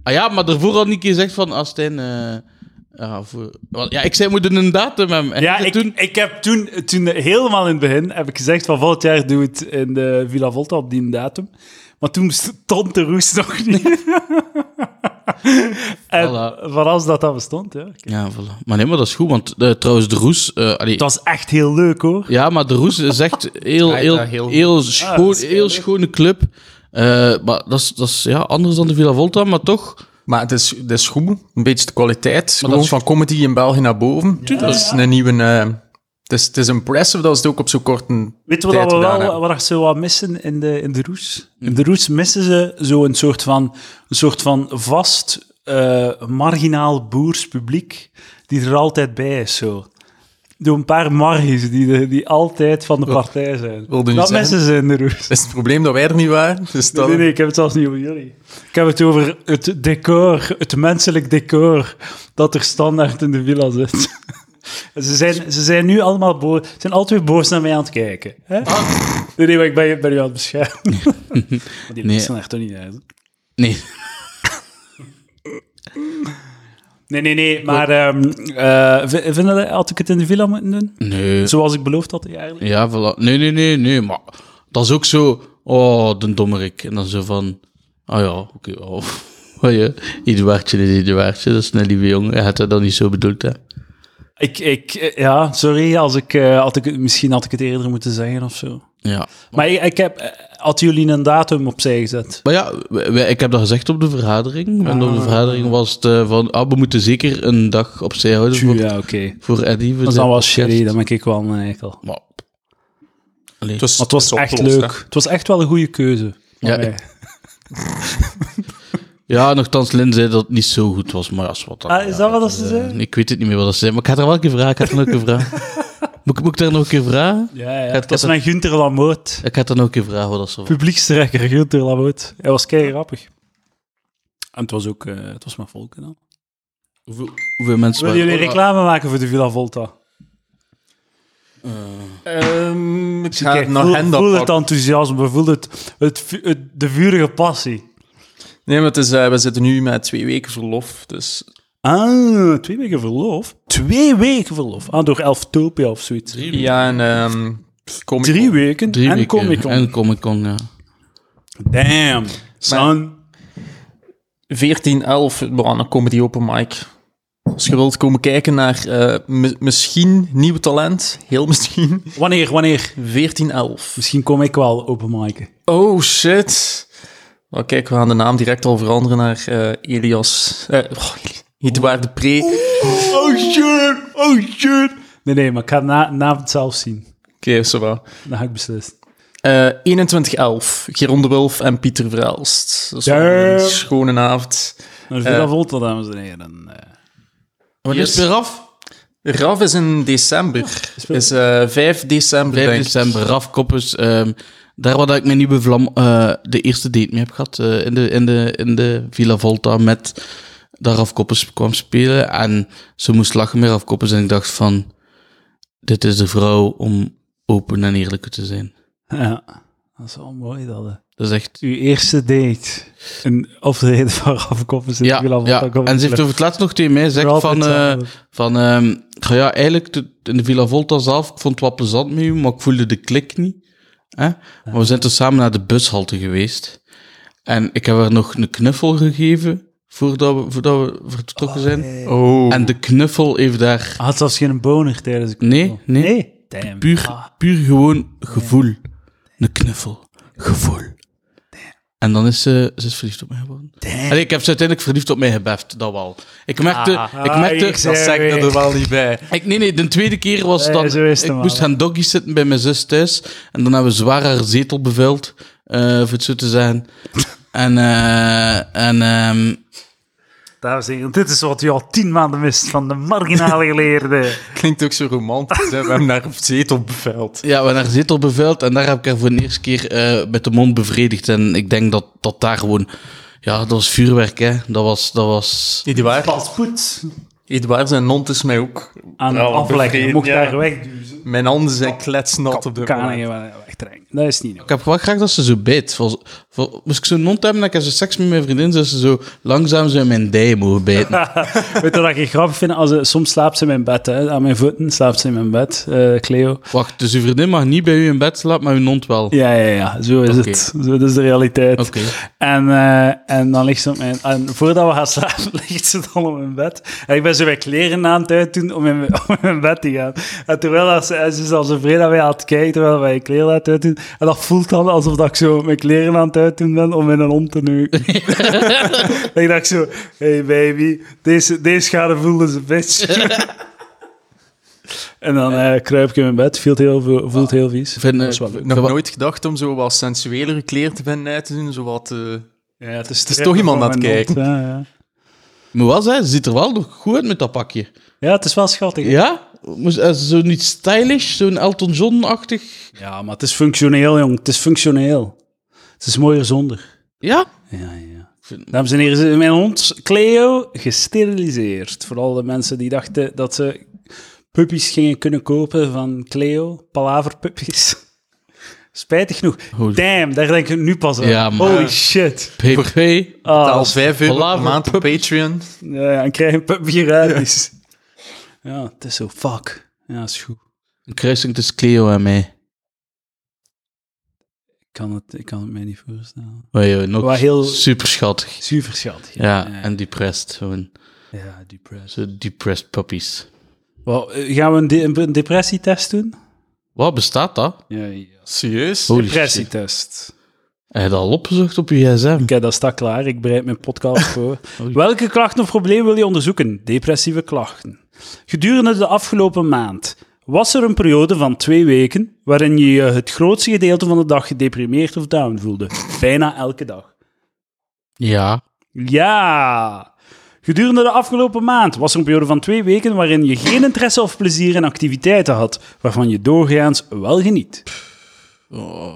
B: Ah ja, maar daarvoor had Nicky gezegd van Astijn. eh ja, voor, wel, ja, ik zei, moet een datum hebben. En
A: Ja,
B: hij zei
A: ik,
B: toen,
A: ik heb toen, toen helemaal in het begin heb ik gezegd van volgend jaar doe het in de Villa Volta op die datum. Maar toen stond de roes nog niet. en
B: Voilà.
A: van als dat dan bestond, ja. Het
B: Ja, voilà. Maar nee, maar dat is goed, want eh, trouwens, de Roes. eh, allee,
A: was echt heel leuk hoor.
B: Ja, maar de Roes is echt heel,
C: Ja,
B: heel,
C: ja,
B: heel,
C: heel-
B: schoon,
A: Ah, is heel
B: heel
A: leuk.
B: schone club. Eh, maar dat is, dat is ja, anders dan de Villa Volta, maar toch.
C: Maar het is, het is goed, een beetje de kwaliteit.
B: dat
C: Gewoon
B: is-
C: van comedy in België naar boven. dat is een nieuwe... eh, het, is, het is impressive dat ze het ook op zo'n korte
A: Weet je
C: tijd
A: wat, we
C: gedaan
A: wel,
C: hebben. Hm.
A: wat ze wat missen in de, in de roes? In de roes missen ze zo'n soort van, een soort van vast, eh, marginaal boers publiek die er altijd bij is. Zo. Door een paar margies die, de- die altijd van de partij zijn.
C: wilde je
A: Dat
C: zeggen?
A: missen ze in de roes.
C: Dat is het probleem dat wij er niet waren. Dus dat...
A: Nee, nee, ik heb het zelfs niet over jullie. Ik heb het over het decor, het menselijk decor, dat er standaard in de villa zit. En Ze zijn, ze zijn nu allemaal boos, ze zijn altijd boos naar mij aan het kijken. Hè? Nee, nee, maar ik ben, je- ben je aan het beschermen. Maar die
B: Nee.
A: mensen zijn er toch niet uit. hè?
B: Nee.
A: Nee, nee, nee, maar ehm eh, v- vinden jullie- had ik het in de villa moeten doen?
B: Nee.
A: Zoals ik beloofd had eigenlijk.
B: Ja, voilà. Nee, nee, nee, nee. Maar dat is ook zo. Oh, de dommerik. En dan zo van. Ah ja, oké. oh. Maar ja, Eduardje is Eduardje, dat is een lieve jongen. Hij had dat dan niet zo bedoeld, hè?
A: Ik, ik, eh, ja, sorry, als ik, eh, had ik, het- misschien had ik het eerder moeten zeggen of zo.
B: Ja.
A: Maar ik, ik heb, eh, hadden jullie een datum opzij gezet?
B: Maar ja, wij- wij- ik heb dat gezegd op de vergadering. En op de vergadering was het eh, van. Ah, we moeten zeker een dag opzij houden.
A: Tju,
B: Voor,
A: Ja, oké.
B: voor Eddie. voor
A: Dus
B: de
A: dan was
B: podcast.
A: Sherry, dan ben ik wel eh, een eikel.
B: Maar, Allee.
C: was,
A: Maar het was
C: het is
A: echt
C: opgelost,
A: leuk.
C: hè.
A: Het was echt wel een goede keuze. van
B: Ja,
A: mij.
B: ik- Ja, nogthans, Lin zei dat het niet zo goed was, maar als wat dan.
A: Ah, is
B: ja,
A: dat wat dat ze
B: eh,
A: zei?
B: Ik weet het niet meer wat dat ze zei, maar ik had er wel een keer vragen. Ik had er nog een keer vragen. Moet, ik- moet ik daar nog een keer vragen?
A: Ja, ja.
B: had-
A: Het was
B: ik had
A: mijn Gunther Lamoot.
B: Ik had er nog een keer vragen wat dat zo
A: Publiekstrekker Gunther Lamoot. Hij was kei grappig. En het was ook, eh, het was mijn volk. Wil
B: Hoeveel, hoeveel mensen
A: Willen jullie
B: waren-
A: reclame maken voor de Villa Volta?
C: Ehm, ik ga
A: Kijk,
C: naar
A: voel,
C: hen dat
A: voel het
C: pakken.
A: enthousiasme, voel het, het, vu- het- de vurige passie.
C: Nee, maar het is, eh, we zitten nu met twee weken verlof, dus...
A: Ah, twee weken verlof. Twee weken verlof. Ah, door Elftopia of zoiets. Drie,
C: Ja, en... ehm, kom ik op.
A: weken
B: Drie
A: en
B: weken.
A: Comic-Con.
B: En Comic-Con, ja.
A: Damn, son.
C: 14, 11, we gaan een comedy open mic. Als je wilt komen kijken naar eh, mi- misschien nieuw talent, heel misschien,
A: Wanneer, wanneer?
C: 1411.
A: Misschien kom ik wel open maken.
C: Oh shit. Oh, kijk, we gaan de naam direct al veranderen naar eh, Elias. eh oh, Eli- Edouard de Pre. Oké,
A: Oh shit, oh shit. Nee, nee, maar ik ga het na, na het zelf zien.
C: zo wel.
A: Dan ga ik beslissen.
C: Eh, 2111, Geron de Wulf en Pieter Verelst. Dat is wel een
A: Damn.
C: schone avond.
A: Dan
B: Eh.
A: is dat Volta, dames en heren. Eh,
B: Wanneer is het weer af?
C: RAF is in december. Is eh 5 december,
B: 5
C: denk ik.
B: december, dus Raf Koppers. ehm, daar waar ik mijn nieuwe vlam, eh, de eerste date mee heb gehad. eh, in, de, in, de, in de Villa Volta met daar Raf Koppers kwam spelen. En ze moest lachen met Raf Koppers. En ik dacht van, dit is de vrouw om open en eerlijk te zijn.
A: Ja, dat is wel mooi dat. hè.
B: Dat is echt...
A: Uw eerste date. Een optreden van Raf Koppers. in
B: Ja,
A: Villa
B: ja.
A: Volta Comedy
B: en ze heeft
A: Club.
B: over het laatst nog tegen mij gezegd
A: Ralph
B: van...
A: met
B: eh,
A: zijn-
B: Van, ehm, ga ja, eigenlijk de- in de Villa Volta zelf, ik vond het wel plezant met u, maar ik voelde de klik niet. Hè? Maar we zijn toen samen naar de bushalte geweest. En ik heb haar nog een knuffel gegeven voordat we, voordat we vertrokken zijn.
C: Oh.
B: En de knuffel heeft daar
A: Had zelfs geen boner tijdens de
B: Nee, nee.
A: Damn.
B: puur,
A: Ah,
B: puur gewoon gevoel. Een knuffel. Gevoel. En dan is ze, ze is verliefd op mij geworden. Allee, ik heb ze uiteindelijk verliefd op mij gebeft, dat wel. Ik merkte... ik
A: ah,
B: merkte
A: ik zei-
C: Zeg dat er wel niet bij.
B: Ik, nee, nee, de tweede keer was
A: Nee,
B: dan...
A: zo is het
B: ik
A: maar,
B: moest
A: hè.
B: gaan doggy zitten bij mijn zus thuis. En dan hebben we zwaar haar zetel bevuild, eh voor het zo te zijn. en eh en ehm,
A: Dames en heren, dit is wat u al tien maanden mist van de marginale geleerde.
C: Klinkt ook zo romantisch, hè? We hebben daar op zetel bevuild.
B: ja, we hebben haar zetel bevuild. En daar heb ik haar voor de eerste keer eh, met de mond bevredigd. En ik denk dat, dat daar gewoon... Ja, dat was vuurwerk, hè. Dat was... Dat was
C: Eduard,
A: Goed.
C: Eduard zijn mond is mij ook...
A: Aan
C: Nou,
A: afleggen. Je
C: bevredigd,
A: mocht
C: ja.
A: daar wegduwen.
C: Mijn handen zijn kletsnat op de
A: Kan
C: moment.
A: je wel wegtrekken. Dat is niet nodig.
B: ik heb wel graag dat ze zo bijt. Vol, vol- moest ik zo'n mond hebben, dat ik als ze seks met mijn vriendin, zou ze zo langzaam zo in mijn dij mogen bijten.
A: Weet je wat ik grappig vind? Als, ze- soms slaapt ze in mijn bed. Hè. Aan mijn voeten slaapt ze in mijn bed, eh, Cleo.
B: Wacht, dus uw vriendin mag niet bij u in bed slapen, maar uw hond wel.
A: Ja, ja, ja. Zo is
B: Oké.
A: het. Zo, dat is de realiteit.
B: Oké.
A: En, eh, en dan ligt ze op mijn... En voordat we gaan slapen, ligt ze dan op mijn bed. En ik ben zo bij kleren aan het uitdoen om in, mijn- om in mijn bed te gaan. En terwijl dat ze, en ze is al zo vreemd dat wij aan het kijken, terwijl wij kleren aan het uitdoen. En dat voelt dan alsof dat ik zo mijn kleren aan het uitdoen ben om in een hond te neuken. en ik dacht zo, hey baby, deze, deze schade voelde ze bitch. en dan eh, kruip ik in mijn bed, voelt heel, veel- voelt heel vies.
B: vind, eh,
A: Dat is wel leuk.
B: vind-
C: Nog
B: vind-
C: nooit gedacht om zo wat sensuelere kleren te vinden uit te doen, zo wat... eh,
A: Ja, het is,
C: is toch iemand aan het kijken.
A: Ja, ja.
B: Maar wel zei, ze ziet er wel nog goed uit met dat pakje.
A: ja, het is wel schattig. Ja.
B: Ja? Moest- eh, Zo niet stylish, zo'n Elton John-achtig.
A: maar het is functioneel, jong. Het is functioneel. Het is mooier zonder.
B: Ja?
A: Ja, ja.
B: vind-
A: Dames en heren, mijn hond Cleo, gesteriliseerd. Voor al de mensen die dachten dat ze puppies gingen kunnen kopen van Cleo. Palaverpuppies. Spijtig genoeg.
B: Holy-
A: Damn, daar denk ik nu pas aan.
B: Ja, man.
A: Holy shit.
B: PP.
A: Ah,
C: Taal 5 euro per
B: Palaver
C: maand op Patreon.
A: ja, ja, en krijg een puppy gratis. Ja, het is zo fuck. Ja, is goed.
B: Een kruising tussen Cleo en mij.
A: Ik kan het, ik kan het mij niet voorstellen.
B: Maar joh, nog
A: Wat heel-
B: super schattig.
A: Super schattig.
B: Ja, en depressed. Gewoon.
A: Ja, depressed.
B: Zo depressed puppies.
A: Wel, eh, gaan we een, de- een depressietest doen?
B: Wat bestaat dat?
A: Ja, ja.
C: Serieus?
B: Holy shit.
A: Depressietest.
B: Heb je dat al opgezocht op je gsm?
A: Oké, dat staat klaar. Ik bereid mijn podcast voor. Welke klachten of problemen wil je onderzoeken? Depressieve klachten. Gedurende de afgelopen maand was er een periode van twee weken waarin je je het grootste gedeelte van de dag gedeprimeerd of down voelde. Bijna elke dag.
B: Ja.
A: Ja! Gedurende de afgelopen maand was er een periode van twee weken waarin je geen interesse of plezier in activiteiten had, waarvan je doorgaans wel geniet.
B: Oh.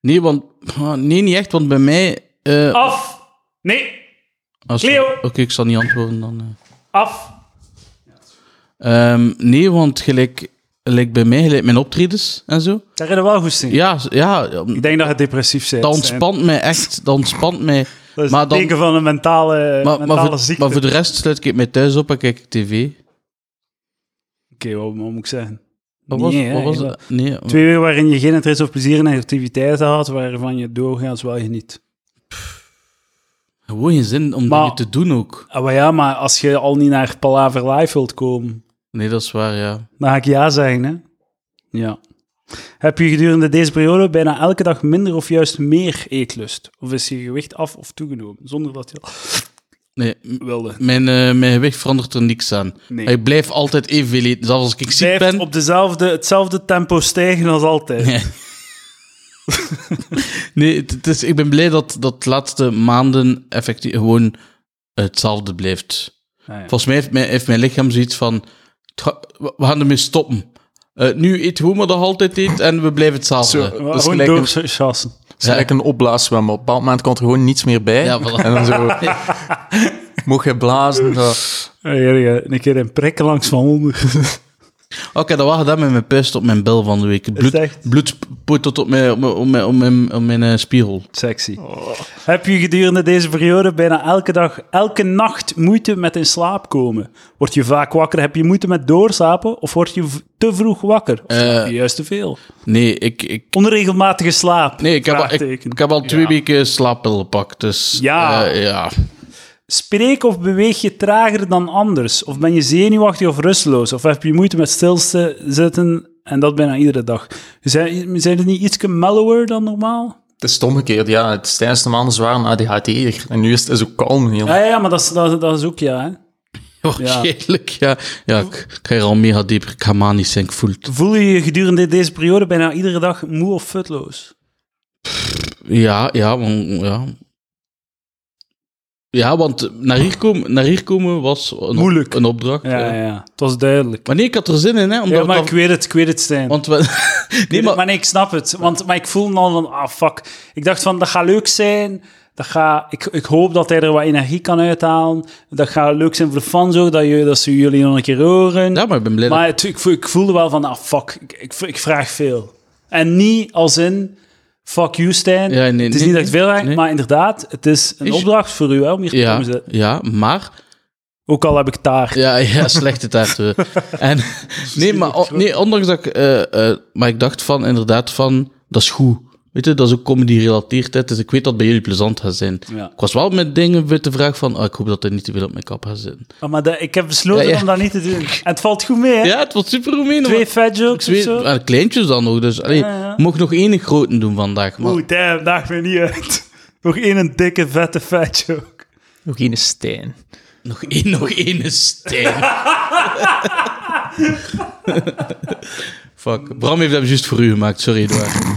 B: Nee, want... ah, Nee, niet echt, want bij mij... eh,
A: Af! Nee,
B: als-
A: Ah, Cleo.
B: Oké, ik zal niet antwoorden dan. eh.
A: af!
B: Ehm, nee, want gelijk, gelijk bij mij, gelijk mijn optredens en zo.
A: Daar heb je wel goed in.
B: Ja, z- ja
A: Ik denk dat je depressief bent.
B: dat ontspant mij echt. Dat ontspant mij.
A: Dat is
B: maar
A: het
B: dan-
A: teken van een mentale,
B: Maar, maar,
A: mentale
B: voor,
A: ziekte.
B: maar voor de rest sluit ik mij thuis op en kijk ik tv.
A: Oké, wat, wat moet ik zeggen?
B: Wat was,
A: Nee, hè,
B: wat was
A: heel-
B: dat? Nee,
A: Twee weken waarin je geen interesse of plezier in activiteiten had, waarvan je doorgaans wel geniet.
B: Gewoon geen zin om
A: Maar-
B: dingen te doen ook.
A: Ah, maar ja, maar als je al niet naar Palaver Live wilt komen,
B: Nee, dat is waar, ja.
A: dan ga ik ja zeggen, hè. Ja. Heb je gedurende deze periode bijna elke dag minder of juist meer eetlust? Of is je gewicht af of toegenomen, zonder dat je dat
B: Nee, m-
A: wilde?
B: mijn, eh, mijn gewicht verandert er niks aan.
A: Nee.
B: Ik blijf altijd evenveel eten, zelfs als ik ziek
A: Blijft
B: ben.
A: op dezelfde, hetzelfde tempo stijgen als altijd.
B: Nee. Nee, het, het is, ik ben blij dat dat de laatste maanden effectief gewoon hetzelfde blijft.
A: Ah, ja.
B: Volgens mij heeft mijn, heeft mijn lichaam zoiets van: "Het ga- we we gaan ermee stoppen. Eh, nu eet gewoon maar dat je altijd eet en we blijven hetzelfde.
C: Zo.
A: Maar
C: dat is
A: Gewoon
C: gelijk
A: door chassen.
C: is eigenlijk een opblaaszwem. Op een bepaald moment komt er gewoon niets meer bij.
B: Ja, voilà.
C: En dan zo... Mocht je blazen? zo.
A: Een keer een prik langs van onder.
B: Oké, dat was gedaan met mijn puist op mijn bel van de week. Bloed,
A: het echt?
B: bloed poet tot op mijn, op mijn, op mijn, op mijn, op mijn eh, spiegel.
A: Sexy. Heb je gedurende deze periode bijna elke dag, elke nacht moeite met in slaap komen? Word je vaak wakker? Heb je moeite met doorslapen? Of word je v- te vroeg wakker? Of slaap
B: Eh.
A: je juist te veel?
B: Nee, ik, ik,
A: Onregelmatige slaap.
B: nee, ik, heb, al, ik,
A: Vraagteken.
B: ik heb al twee weken slaappil gepakt. Dus
A: Ja.
B: eh, ja.
A: Spreek of beweeg je trager dan anders? Of ben je zenuwachtig of rusteloos? Of heb je moeite met stilzitten? En dat bijna iedere dag. Zijn, zijn het niet ietske mellower dan normaal?
C: Het is het omgekeerd, ja. Het is tijdens de maanden zwaar een ADHD'er. En nu is het is ook kalm. Heel.
A: Ja, ja maar dat is, dat, dat is ook ja. Hè?
B: Waarschijnlijk, Oh, ja. Ja, ik, ik ga hier al mega diep. Ik ga maar niet zijn, ik voel het.
A: Voel je je gedurende deze periode bijna iedere dag moe of futloos?
B: Ja, ja, want- ja. Ja, want naar hier komen, naar hier komen was een, op-
A: Moeilijk.
B: een opdracht.
A: Ja,
B: ja.
A: ja, ja. Het was duidelijk.
B: Maar nee, ik had er zin in, hè. Omdat
A: ja, maar
B: dat-
A: ik weet het, ik weet het, Stijn.
B: want we,
A: nee,
B: nee, maar,
A: maar... nee, ik snap het. Want, maar ik voelde al van, ah, fuck. Ik dacht van, dat gaat leuk zijn. Dat ga, ik, ik hoop dat hij er wat energie kan uithalen. Dat gaat leuk zijn voor de fans ook, dat, je, dat ze jullie nog een keer horen.
B: ja, maar ik ben blij dat-
A: Maar het- ik, voel- ik voelde wel van, ah, fuck, ik, ik, ik vraag veel. En niet als in, fuck you, Stijn.
B: Ja, nee,
A: het is
B: nee,
A: niet dat ik veel vraag,
B: nee.
A: maar inderdaad, het is een
B: Is-
A: opdracht voor u, hè, om hier te komen
B: Ja,
A: zitten.
B: ja, maar...
A: Ook al heb ik taart.
B: Ja, ja slechte taart. eh. en, nee, maar o- nee, ondanks dat ik... eh, eh, maar ik dacht van, inderdaad, van... Dat is goed. Weet je, dat is ook comedy-relateerd. hè. Dus ik weet dat het bij jullie plezant gaat zijn.
A: Ja.
B: Ik was wel met dingen met de vraag van... ah, ik hoop dat er niet te veel op mijn kap gaat zitten.
A: Ah, maar dat- ik heb besloten
B: Ja, ja.
A: om dat niet te doen. En het valt goed mee, hè?
B: Ja, het was super Romein.
A: Twee fat jokes of
B: twee
A: zo.
B: eh, kleintjes dan nog. Dus allee,
A: Ja, ja.
B: ik mocht nog één grote doen vandaag. Maar,
A: Oeh, damn, daag me niet uit. Nog één een dikke, vette fat joke.
C: Nog geen steen.
B: Nog één, nog één is stijl. Fuck. Bram heeft hem juist voor u gemaakt. Sorry, Edouard.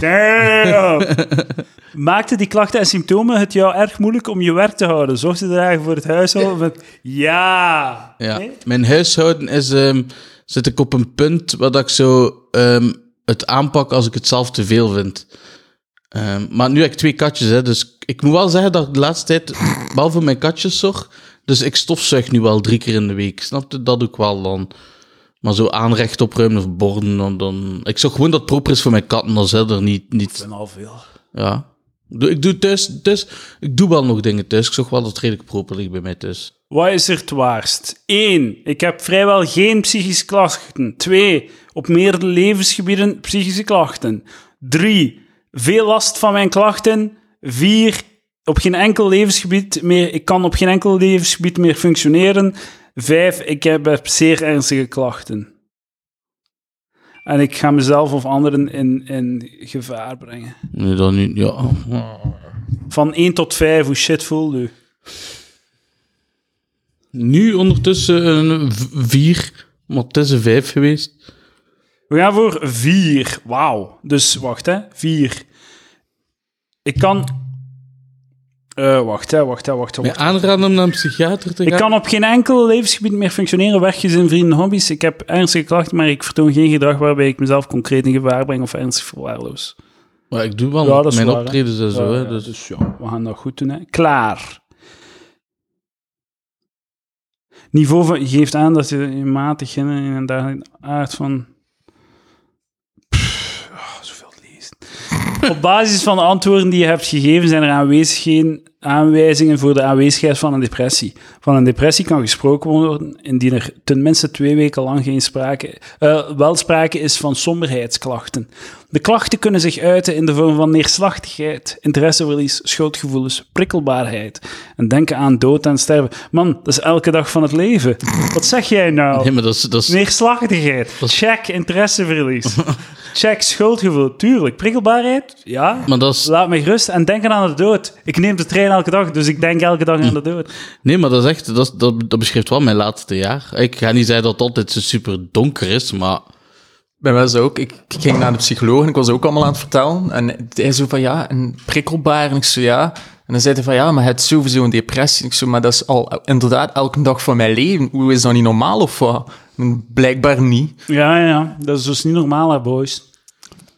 A: Damn! Maakten die klachten en symptomen het jou erg moeilijk om je werk te houden? Zorg je er eigenlijk voor het huishouden met... Ja!
B: Ja.
A: Nee?
B: Mijn huishouden is... ehm, zit ik op een punt waar dat ik zo ehm, het aanpak als ik het zelf te veel vind. Ehm, maar nu heb ik twee katjes, hè, dus ik moet wel zeggen dat ik de laatste tijd wel voor mijn katjes zorg. Dus ik stofzuig nu wel drie keer in de week. Snap je? Dat doe ik wel dan. Maar zo aanrecht opruimen of borden, dan... dan... Ik zorg gewoon dat het proper is voor mijn katten, dan zijn er niet... niet...
A: Ik ben al veel.
B: Ja. Ik doe, ik doe thuis, thuis... Ik doe wel nog dingen thuis. Ik zorg wel dat het redelijk proper ligt bij mij thuis.
A: Wat is er het waardst? 1. Ik heb vrijwel geen psychische klachten. 2. Op meerdere levensgebieden psychische klachten. 3. Veel last van mijn klachten. 4. Op geen enkel levensgebied meer. Ik kan op geen enkel levensgebied meer functioneren. 5. Ik heb eh, zeer ernstige klachten. En ik ga mezelf of anderen in, in gevaar brengen.
B: Nee, dan nu... Ja.
A: Van 1 tot 5, hoe shit voel je?
B: Nu ondertussen een v- vier, maar het is een vijf geweest.
A: We gaan voor vier. Wauw. Dus wacht, hè. Vier. Ik kan... Eh, wacht, hè, wacht, hè, wacht, hè,
B: Mij
A: wacht.
B: aanraden om naar een psychiater te gaan.
A: Ik kan op geen enkel levensgebied meer functioneren, werkjes in vrienden, hobby's. Ik heb ernstige klachten, maar ik vertoon geen gedrag waarbij ik mezelf concreet in gevaar breng of ernstig verwaarloos.
B: Maar ik doe wel
A: Ja, dat is
B: mijn
A: waar, hè.
B: optredens en zo.
A: Ja,
B: hè,
A: ja,
B: dus.
A: Dus ja, we gaan dat goed doen. Hè. Klaar. Niveau van, geeft aan dat je een matig en een dagelijks aard van... Pff, ah, zoveel lezen. Op basis van de antwoorden die je hebt gegeven zijn er aanwezig geen aanwijzingen voor de aanwezigheid van een depressie. Van een depressie kan gesproken worden indien er tenminste twee weken lang geen sprake, eh, wel sprake is van somberheidsklachten. De klachten kunnen zich uiten in de vorm van neerslachtigheid, interesseverlies, schuldgevoelens, prikkelbaarheid. En denken aan dood en sterven. Man, dat is elke dag van het leven. Wat zeg jij nou?
B: Nee, maar dat is, dat is,
A: Neerslachtigheid. Check, interesseverlies. Check, schuldgevoel. Tuurlijk. Prikkelbaarheid? Ja.
B: maar dat is,
A: Laat me gerust en denken aan de dood. Ik neem de trein elke dag, dus ik denk elke dag aan de dood.
B: nee, maar dat is echt, dat, is- dat, dat beschrijft wel mijn laatste jaar. Ik ga niet zeggen dat het altijd zo super donker is, maar
C: Bij mij is dat ook. Ik ik ging naar de psycholoog en ik was ook allemaal aan het vertellen. En hij zo van, ja, en prikkelbaar. En ik zo, ja. En dan zei hij van, ja, maar het is sowieso een depressie. En ik zo, maar dat is al inderdaad elke dag van mijn leven. Hoe is dat niet normaal of wat? En Blijkbaar niet.
A: Ja, ja. Dat is dus niet normaal, hè, boys.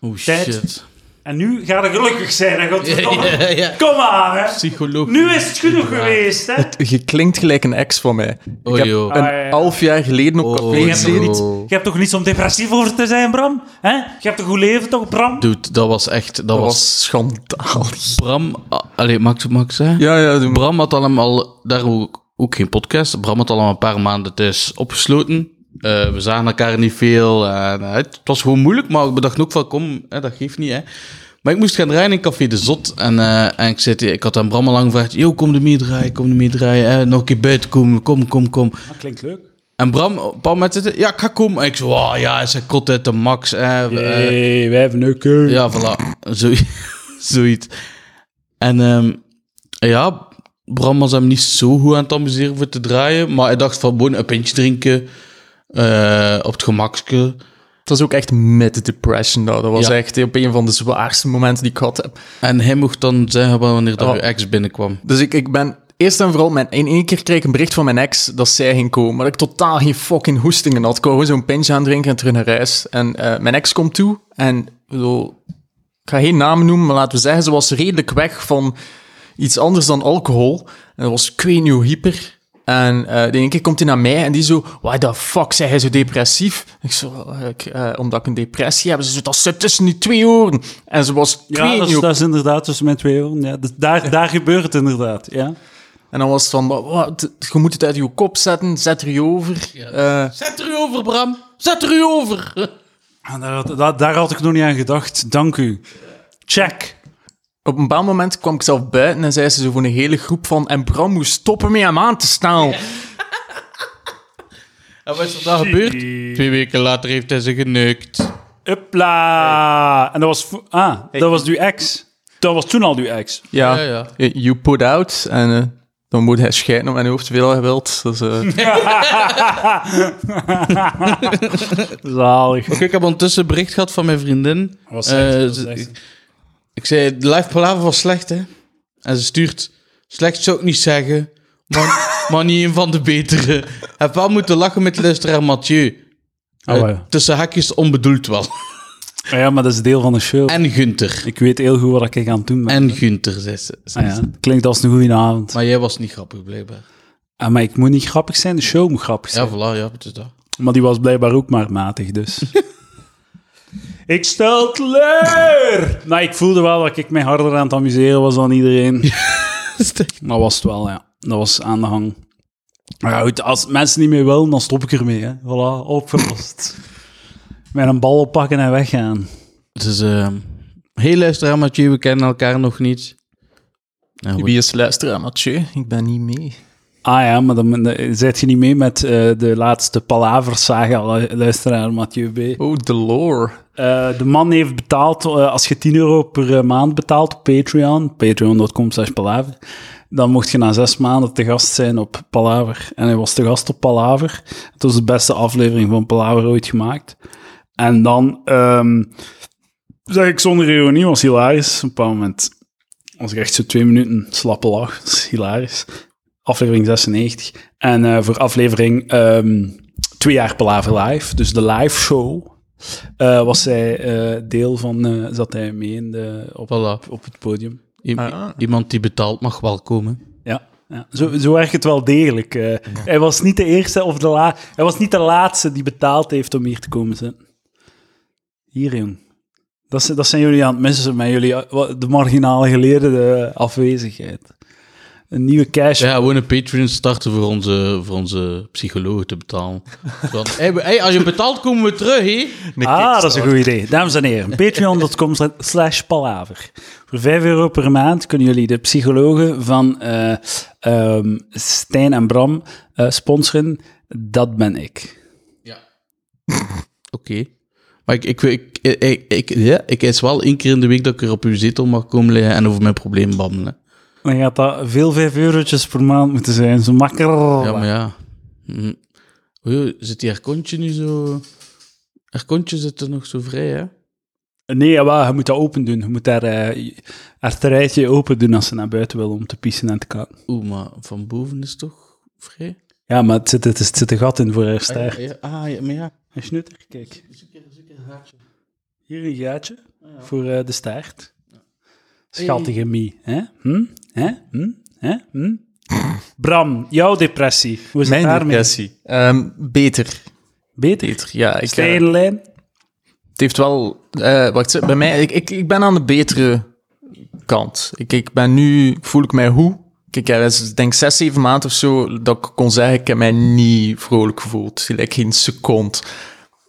B: oh
A: Tijd.
B: shit.
A: En nu gaat het gelukkig zijn, hè, godverdomme.
B: Ja, ja.
A: Kom aan, hè.
B: Psycholoog.
A: Nu is het genoeg geweest, hè.
C: Je klinkt gelijk een ex van mij.
B: Oh,
C: ik heb
B: joh.
A: Ah, ja, ja.
C: een half jaar geleden op
B: Oh,
C: café
B: joh.
A: hebt
C: gezeten.
A: Je hebt toch niets om depressief over te zijn, Bram? Hè? Je hebt een goed leven, toch, Bram?
B: Dude, dat was echt, dat,
C: Dat
B: was...
C: was schandalig.
B: Bram, ah, allee, mag ik, mag ik zeggen?
C: Ja, ja, doe maar.
B: Bram had al hem al, daar ook, ook geen podcast. Bram had al hem een paar maanden thuis opgesloten. Eh, we zagen elkaar niet veel. En, eh, het was gewoon moeilijk, maar we dachten ook van kom, hè, dat geeft niet. Hè. Maar ik moest gaan draaien in Café de Zot. En, eh, en ik, zei, tegen- ik had aan Bram al lang gevraagd: Yo, kom er mee draaien, kom er mee draaien. Hè. Nog een keer buiten komen, kom, kom, kom.
A: Dat klinkt leuk.
B: En Bram, op een bepaald moment zitten, ja, ik ga komen. En ik zo, "Wauw, ja, hij zei kot uit de max. Hè, we- eh,
A: hey, wij hebben een keuze.
B: ja, voilà. Zo, zoiets. En ehm, ja, Bram was hem niet zo goed aan het amuseren voor te draaien. Maar hij dacht van gewoon een pintje drinken. eh, op het gemakske.
C: Het was ook echt met de depression. nou. Dat, dat was
B: Ja.
C: echt op een van de zwaarste momenten die ik gehad heb.
B: En hij mocht dan zeggen wanneer dat
C: Ja.
B: uw ex binnenkwam.
C: Dus ik, ik ben eerst en vooral... Mijn, in één keer kreeg ik een bericht van mijn ex dat zij ging komen. Maar ik totaal geen fucking hoestingen had. Ik wou gewoon zo'n pintje aandrinken en terug naar huis. En eh, mijn ex komt toe en... ik bedoel, ik ga geen namen noemen, maar laten we zeggen... Ze was redelijk weg van iets anders dan alcohol. En dat was, ik weet niet hoe hyper... En eh de ene keer komt hij naar mij en die zo... Why the fuck, zei hij zo depressief? Ik zo, eh, ik, eh, omdat ik een depressie heb. Ze zo, dat zit tussen die twee oren. En ze was, ik
A: Ja,
C: weet
A: dat
C: niet
A: is,
C: hoe
A: dat is inderdaad tussen mijn twee oren. Ja, dat- daar, daar gebeurt het inderdaad. Ja.
C: En dan was het van, wa- wat, je moet het uit je kop zetten, zet er je over. Eh,
B: Zet er u over, Bram. Zet er u over.
A: En Ah, daar, had, daar, daar had ik nog niet aan gedacht. Dank u. Check.
C: op een bepaald moment kwam ik zelf buiten en zei ze zo voor een hele groep van... En Bram moest stoppen met hem aan te staan.
B: En wat is er dan gebeurd? Twee weken later heeft hij ze geneukt.
A: Upla. En dat was, vo- ah, dat was uw ex. Dat was toen al uw ex.
C: Ja,
B: Ja, ja.
C: Eh, you put out. En eh, dan moet hij schijten om mijn hoofd veel hij wilt. Dus, eh,
A: Zalig.
B: Ik heb ondertussen een bericht gehad van mijn vriendin.
A: Wat zegt ze?
B: Eh,
A: Wat
B: ze-
A: zegt ze?
B: ik, ik zei, de live palaver was slecht, hè. En ze stuurt, slecht zou ik niet zeggen, maar, maar niet een van de betere. Heb wel moeten lachen met luisteraar Mathieu.
A: Oh,
B: Eh,
A: ja.
B: Tussen hakjes onbedoeld wel.
A: Ja, maar dat is deel van de show.
B: En Gunther.
A: Ik weet heel goed wat ik aan het doen ben.
B: En Gunther, zei ze.
A: Ah, ja. Klinkt als een goede avond.
B: Maar jij was niet grappig, blijkbaar.
A: Ah, maar ik moet niet grappig zijn, de show moet grappig zijn.
B: Ja, voilà, ja, het is dat.
A: Maar die was blijkbaar ook maar matig, dus. ik stel teleur! Nou, ik voelde wel dat ik mij harder aan het amuseren was dan iedereen. Maar was het wel, ja. Dat was aan de hang. Maar ja, goed, als mensen niet meer willen, dan stop ik ermee. Hè. Voilà, opgelost. Met een bal oppakken en weggaan.
B: Dus, ehm hey luisteraar Mathieu, we kennen elkaar nog niet. Nou, goed.
C: wie is luisteraar, Mathieu? Ik ben niet mee.
A: Ah ja, maar dan dan zet je niet mee met eh, de laatste palaversaga, lu- luisteraar Mathieu B.
C: Oh, de lore.
A: Eh, de man heeft betaald, eh, als je 10 euro per eh, maand betaalt op Patreon, patreon.com slash palaver, dan mocht je na zes maanden te gast zijn op Palaver. En hij was te gast op Palaver. Het was de beste aflevering van Palaver ooit gemaakt. En dan, ehm, zeg ik zonder ironie, was hilarisch. Op een bepaald moment was ik echt zo twee minuten slappe lach. Dat is hilarisch. Aflevering 96. En eh, voor aflevering ehm, twee jaar Palaver Live, dus de live show... Eh, was zij eh, deel van, eh, zat hij mee in de, op,
B: Voilà.
A: op het podium.
B: I- i- Iemand die betaalt mag wel komen.
A: Ja, ja. Zo, zo werkt het wel degelijk. eh. Hij was niet de eerste of de la hij was niet de laatste die betaald heeft om hier te komen zitten. Hier, jong. Dat, zijn- dat zijn jullie aan het missen met jullie eh, wa- de marginale geleerde eh, afwezigheid. een nieuwe cash.
B: Ja, gewoon een Patreon starten voor onze, voor onze psycholoog te betalen. Want, hey, we- hey, als je betaalt, komen we terug, hé.
A: Ah, dat is een goed idee. Dames en heren, patreon.com slash palaver. Voor 5 euro per maand kunnen jullie de psychologen van eh, ehm, Stijn en Bram eh, sponsoren. Dat ben ik.
B: Oké. Maar ik, ik, ik, ik, ik, ja, ik is wel één keer in de week dat ik er op uw zetel mag komen liggen en over mijn probleem babbelen.
A: Dan gaat dat veel 5 eurotjes per maand moeten zijn. Zo makker.
B: Ja, maar ja. Hm. Oei, zit die aircontje nu zo... Aircontje zit er nog zo vrij, hè?
A: Nee, maar je moet dat open doen. Je moet daar eh, je- haar terreitje open doen als ze naar buiten wil om te pissen en te kaken.
B: Oeh, maar van boven is het toch vrij?
A: Ja, maar het zit, het, is- het zit een gat in voor haar staart.
B: Ja, ah, ja, maar ja.
A: Een snutter, kijk. Hier een gaatje voor eh, de staart. Schattige Mie. Hè? Hm? Hè? Hm? Hè? Hm? Bram, jouw depressie. Hoe is het
C: Mijn
A: daarmee?
C: depressie. Ehm, beter.
A: Beter.
C: Beter, ja. Ik, eh,
A: Steenlijn.
C: het heeft wel... eh, wacht, bij mij... Ik, ik, ik ben aan de betere kant. Ik, ik ben nu... Voel ik mij hoe? Kijk, ja, dat is, ik denk zes, zeven maanden of zo dat ik kon zeggen, ik heb mij niet vrolijk gevoeld. Gelijk geen seconde.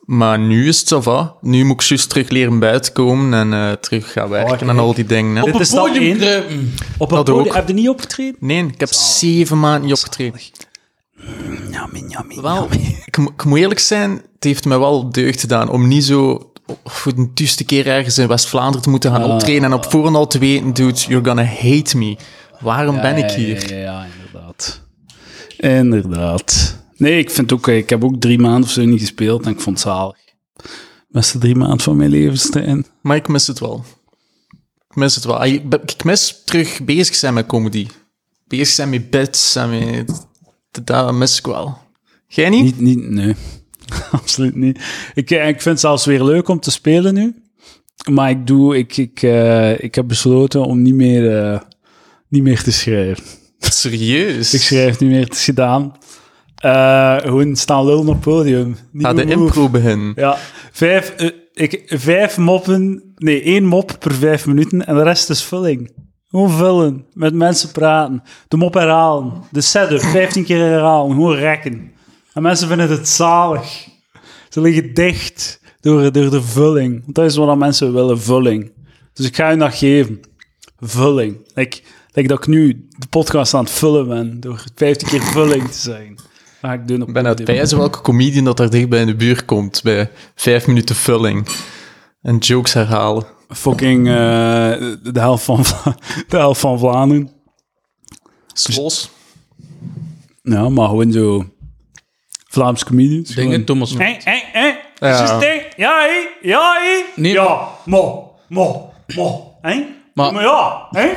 C: Maar nu is het zo va. Nu moet ik juist terug leren buiten komen en eh, terug gaan werken en al die dingen. Hè.
A: Dit is stap één.
B: kruipen.
A: Op een
C: Dat
A: podium.
C: ook.
A: Heb je niet opgetreden?
C: Nee, ik heb zeven maanden niet opgetreden.
A: Yummy, yummy,
C: Wel,
A: yummy.
C: ik, mo- ik moet eerlijk zijn, het heeft me wel deugd gedaan om niet zo voor de duizendste keer ergens in West-Vlaanderen te moeten
A: Ah.
C: gaan optreden en op voorhand al te weten, dude, you're gonna hate me. Waarom ben ik hier?
A: Ja, ja, ja, inderdaad. Inderdaad. Nee, ik vind ook... eh, Ik heb ook drie maanden of zo niet gespeeld en ik vond het zalig. Beste drie maanden van mijn leven, Stijn.
C: Maar ik mis het wel. Ik mis het wel. Ah, Ik ik mis terug bezig zijn met comedy. Bezig zijn met bits en met... Dat mis ik wel. Jij niet?
A: Niet, niet, nee. Absoluut niet. Ik, eh, ik vind het zelfs weer leuk om te spelen nu. Maar ik doe, ik, ik, eh, ik heb besloten om niet meer, eh, niet meer te schrijven.
C: Serieus?
A: Ik schrijf niet meer, het is gedaan. Eh, gewoon staan lullen op het podium.
C: Ga
A: Nieuwe
C: Ah, de
A: move.
C: impro beginnen.
A: Ja, vijf, eh, ik, vijf moppen, nee, één mop per vijf minuten en de rest is vulling. Gewoon vullen, met mensen praten, de mop herhalen, de setup 15 keer herhalen, gewoon rekken. En mensen vinden het zalig. Ze liggen dicht door, door de vulling. Want dat is wat dat mensen willen, vulling. Dus ik ga hun dat geven. Vulling. Like, like dat ik nu de podcast aan het vullen ben door 15 keer vulling te zijn. Dat ga ik doen op
C: Ik ben uit
A: dit
C: pijzen welke comedian dat daar dichtbij in de buurt komt. Bij vijf minuten vulling. En jokes herhalen.
A: fucking eh, de, helft van, Vla- de helft van Vlaanderen.
C: Zoals?
A: Ja, maar gewoon zo Vlaams comedians.
B: Dingen, Thomas.
A: Hé, hé, hé.
C: Ja.
A: Is het ding? Ja, hé. Ja, hé.
B: Nee,
A: ja, mo, mo, mo. Hé?
B: Maar-
A: Maar ja, hé.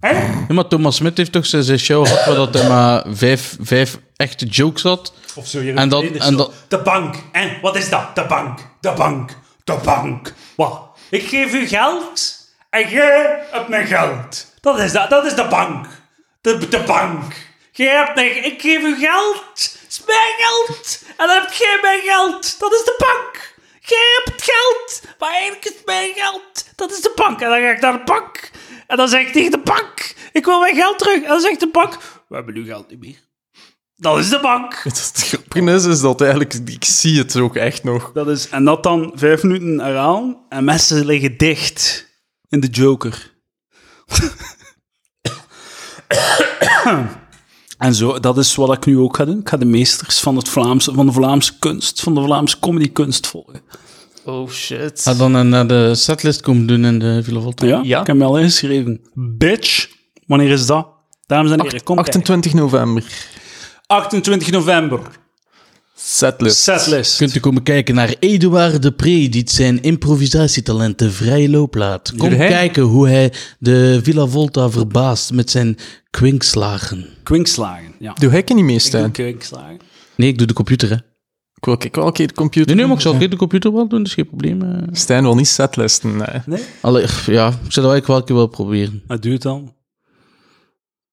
A: Hé?
B: Ja, maar Thomas Smit heeft toch zijn zijn show gehad waar dat hij maar vijf, vijf echte jokes had.
A: Of zo, hier
B: En dat-
A: beneden
B: en
A: zo.
B: dat-
A: De bank. En wat is dat? De bank. De bank. De bank. Wat? Ik geef u geld en jij hebt mijn geld. Dat is, dat, dat is de bank. De, de bank. Jij hebt mijn... Ik geef u geld. Het is mijn geld. En dan heb jij mijn geld. Dat is de bank. Jij hebt het geld. Maar eigenlijk is het mijn geld. Dat is de bank. En dan ga ik naar de bank. En dan zeg ik tegen de bank. Ik wil mijn geld terug. En dan zegt de bank. We hebben uw geld niet meer. Dat is de bank.
C: Het grappige is, is dat eigenlijk... Ik zie het ook echt nog.
A: Dat is, en dat dan vijf minuten herhalen en mensen liggen dicht in de Joker. en zo, dat is wat ik nu ook ga doen. Ik ga de meesters van, het Vlaamse, van de Vlaamse kunst, van de Vlaamse comedykunst volgen.
C: Oh, shit.
B: Had dan eh, naar de setlist komen doen in de Villa Volta.
A: Ja,
C: Ja.
A: ik heb me al ingeschreven. Bitch, wanneer is dat? Dames en heren, kom 28,
C: 28 november.
A: 28 november,
C: Setlist.
A: setlist.
B: Kunt u komen kijken naar Eduard de Pre, die zijn improvisatietalenten vrij loop laat. Kom
C: Jullie?
B: kijken hoe hij de Villa Volta verbaast met zijn kwinkslagen.
A: Kwinkslagen, ja.
C: Doe hekken niet mee, Stijn.
A: Kwinkslagen.
B: Nee, ik doe de computer, hè.
C: Ik wil ik wel een keer de computer...
B: Nee, nee, maar ik zal ook de computer wel doen, dus geen probleem. eh.
C: Stijn wil niet setlisten, nee.
A: Nee?
B: Allee, pff, ja, ik zou dat eigenlijk wel een keer wel proberen.
A: Dat duurt dan.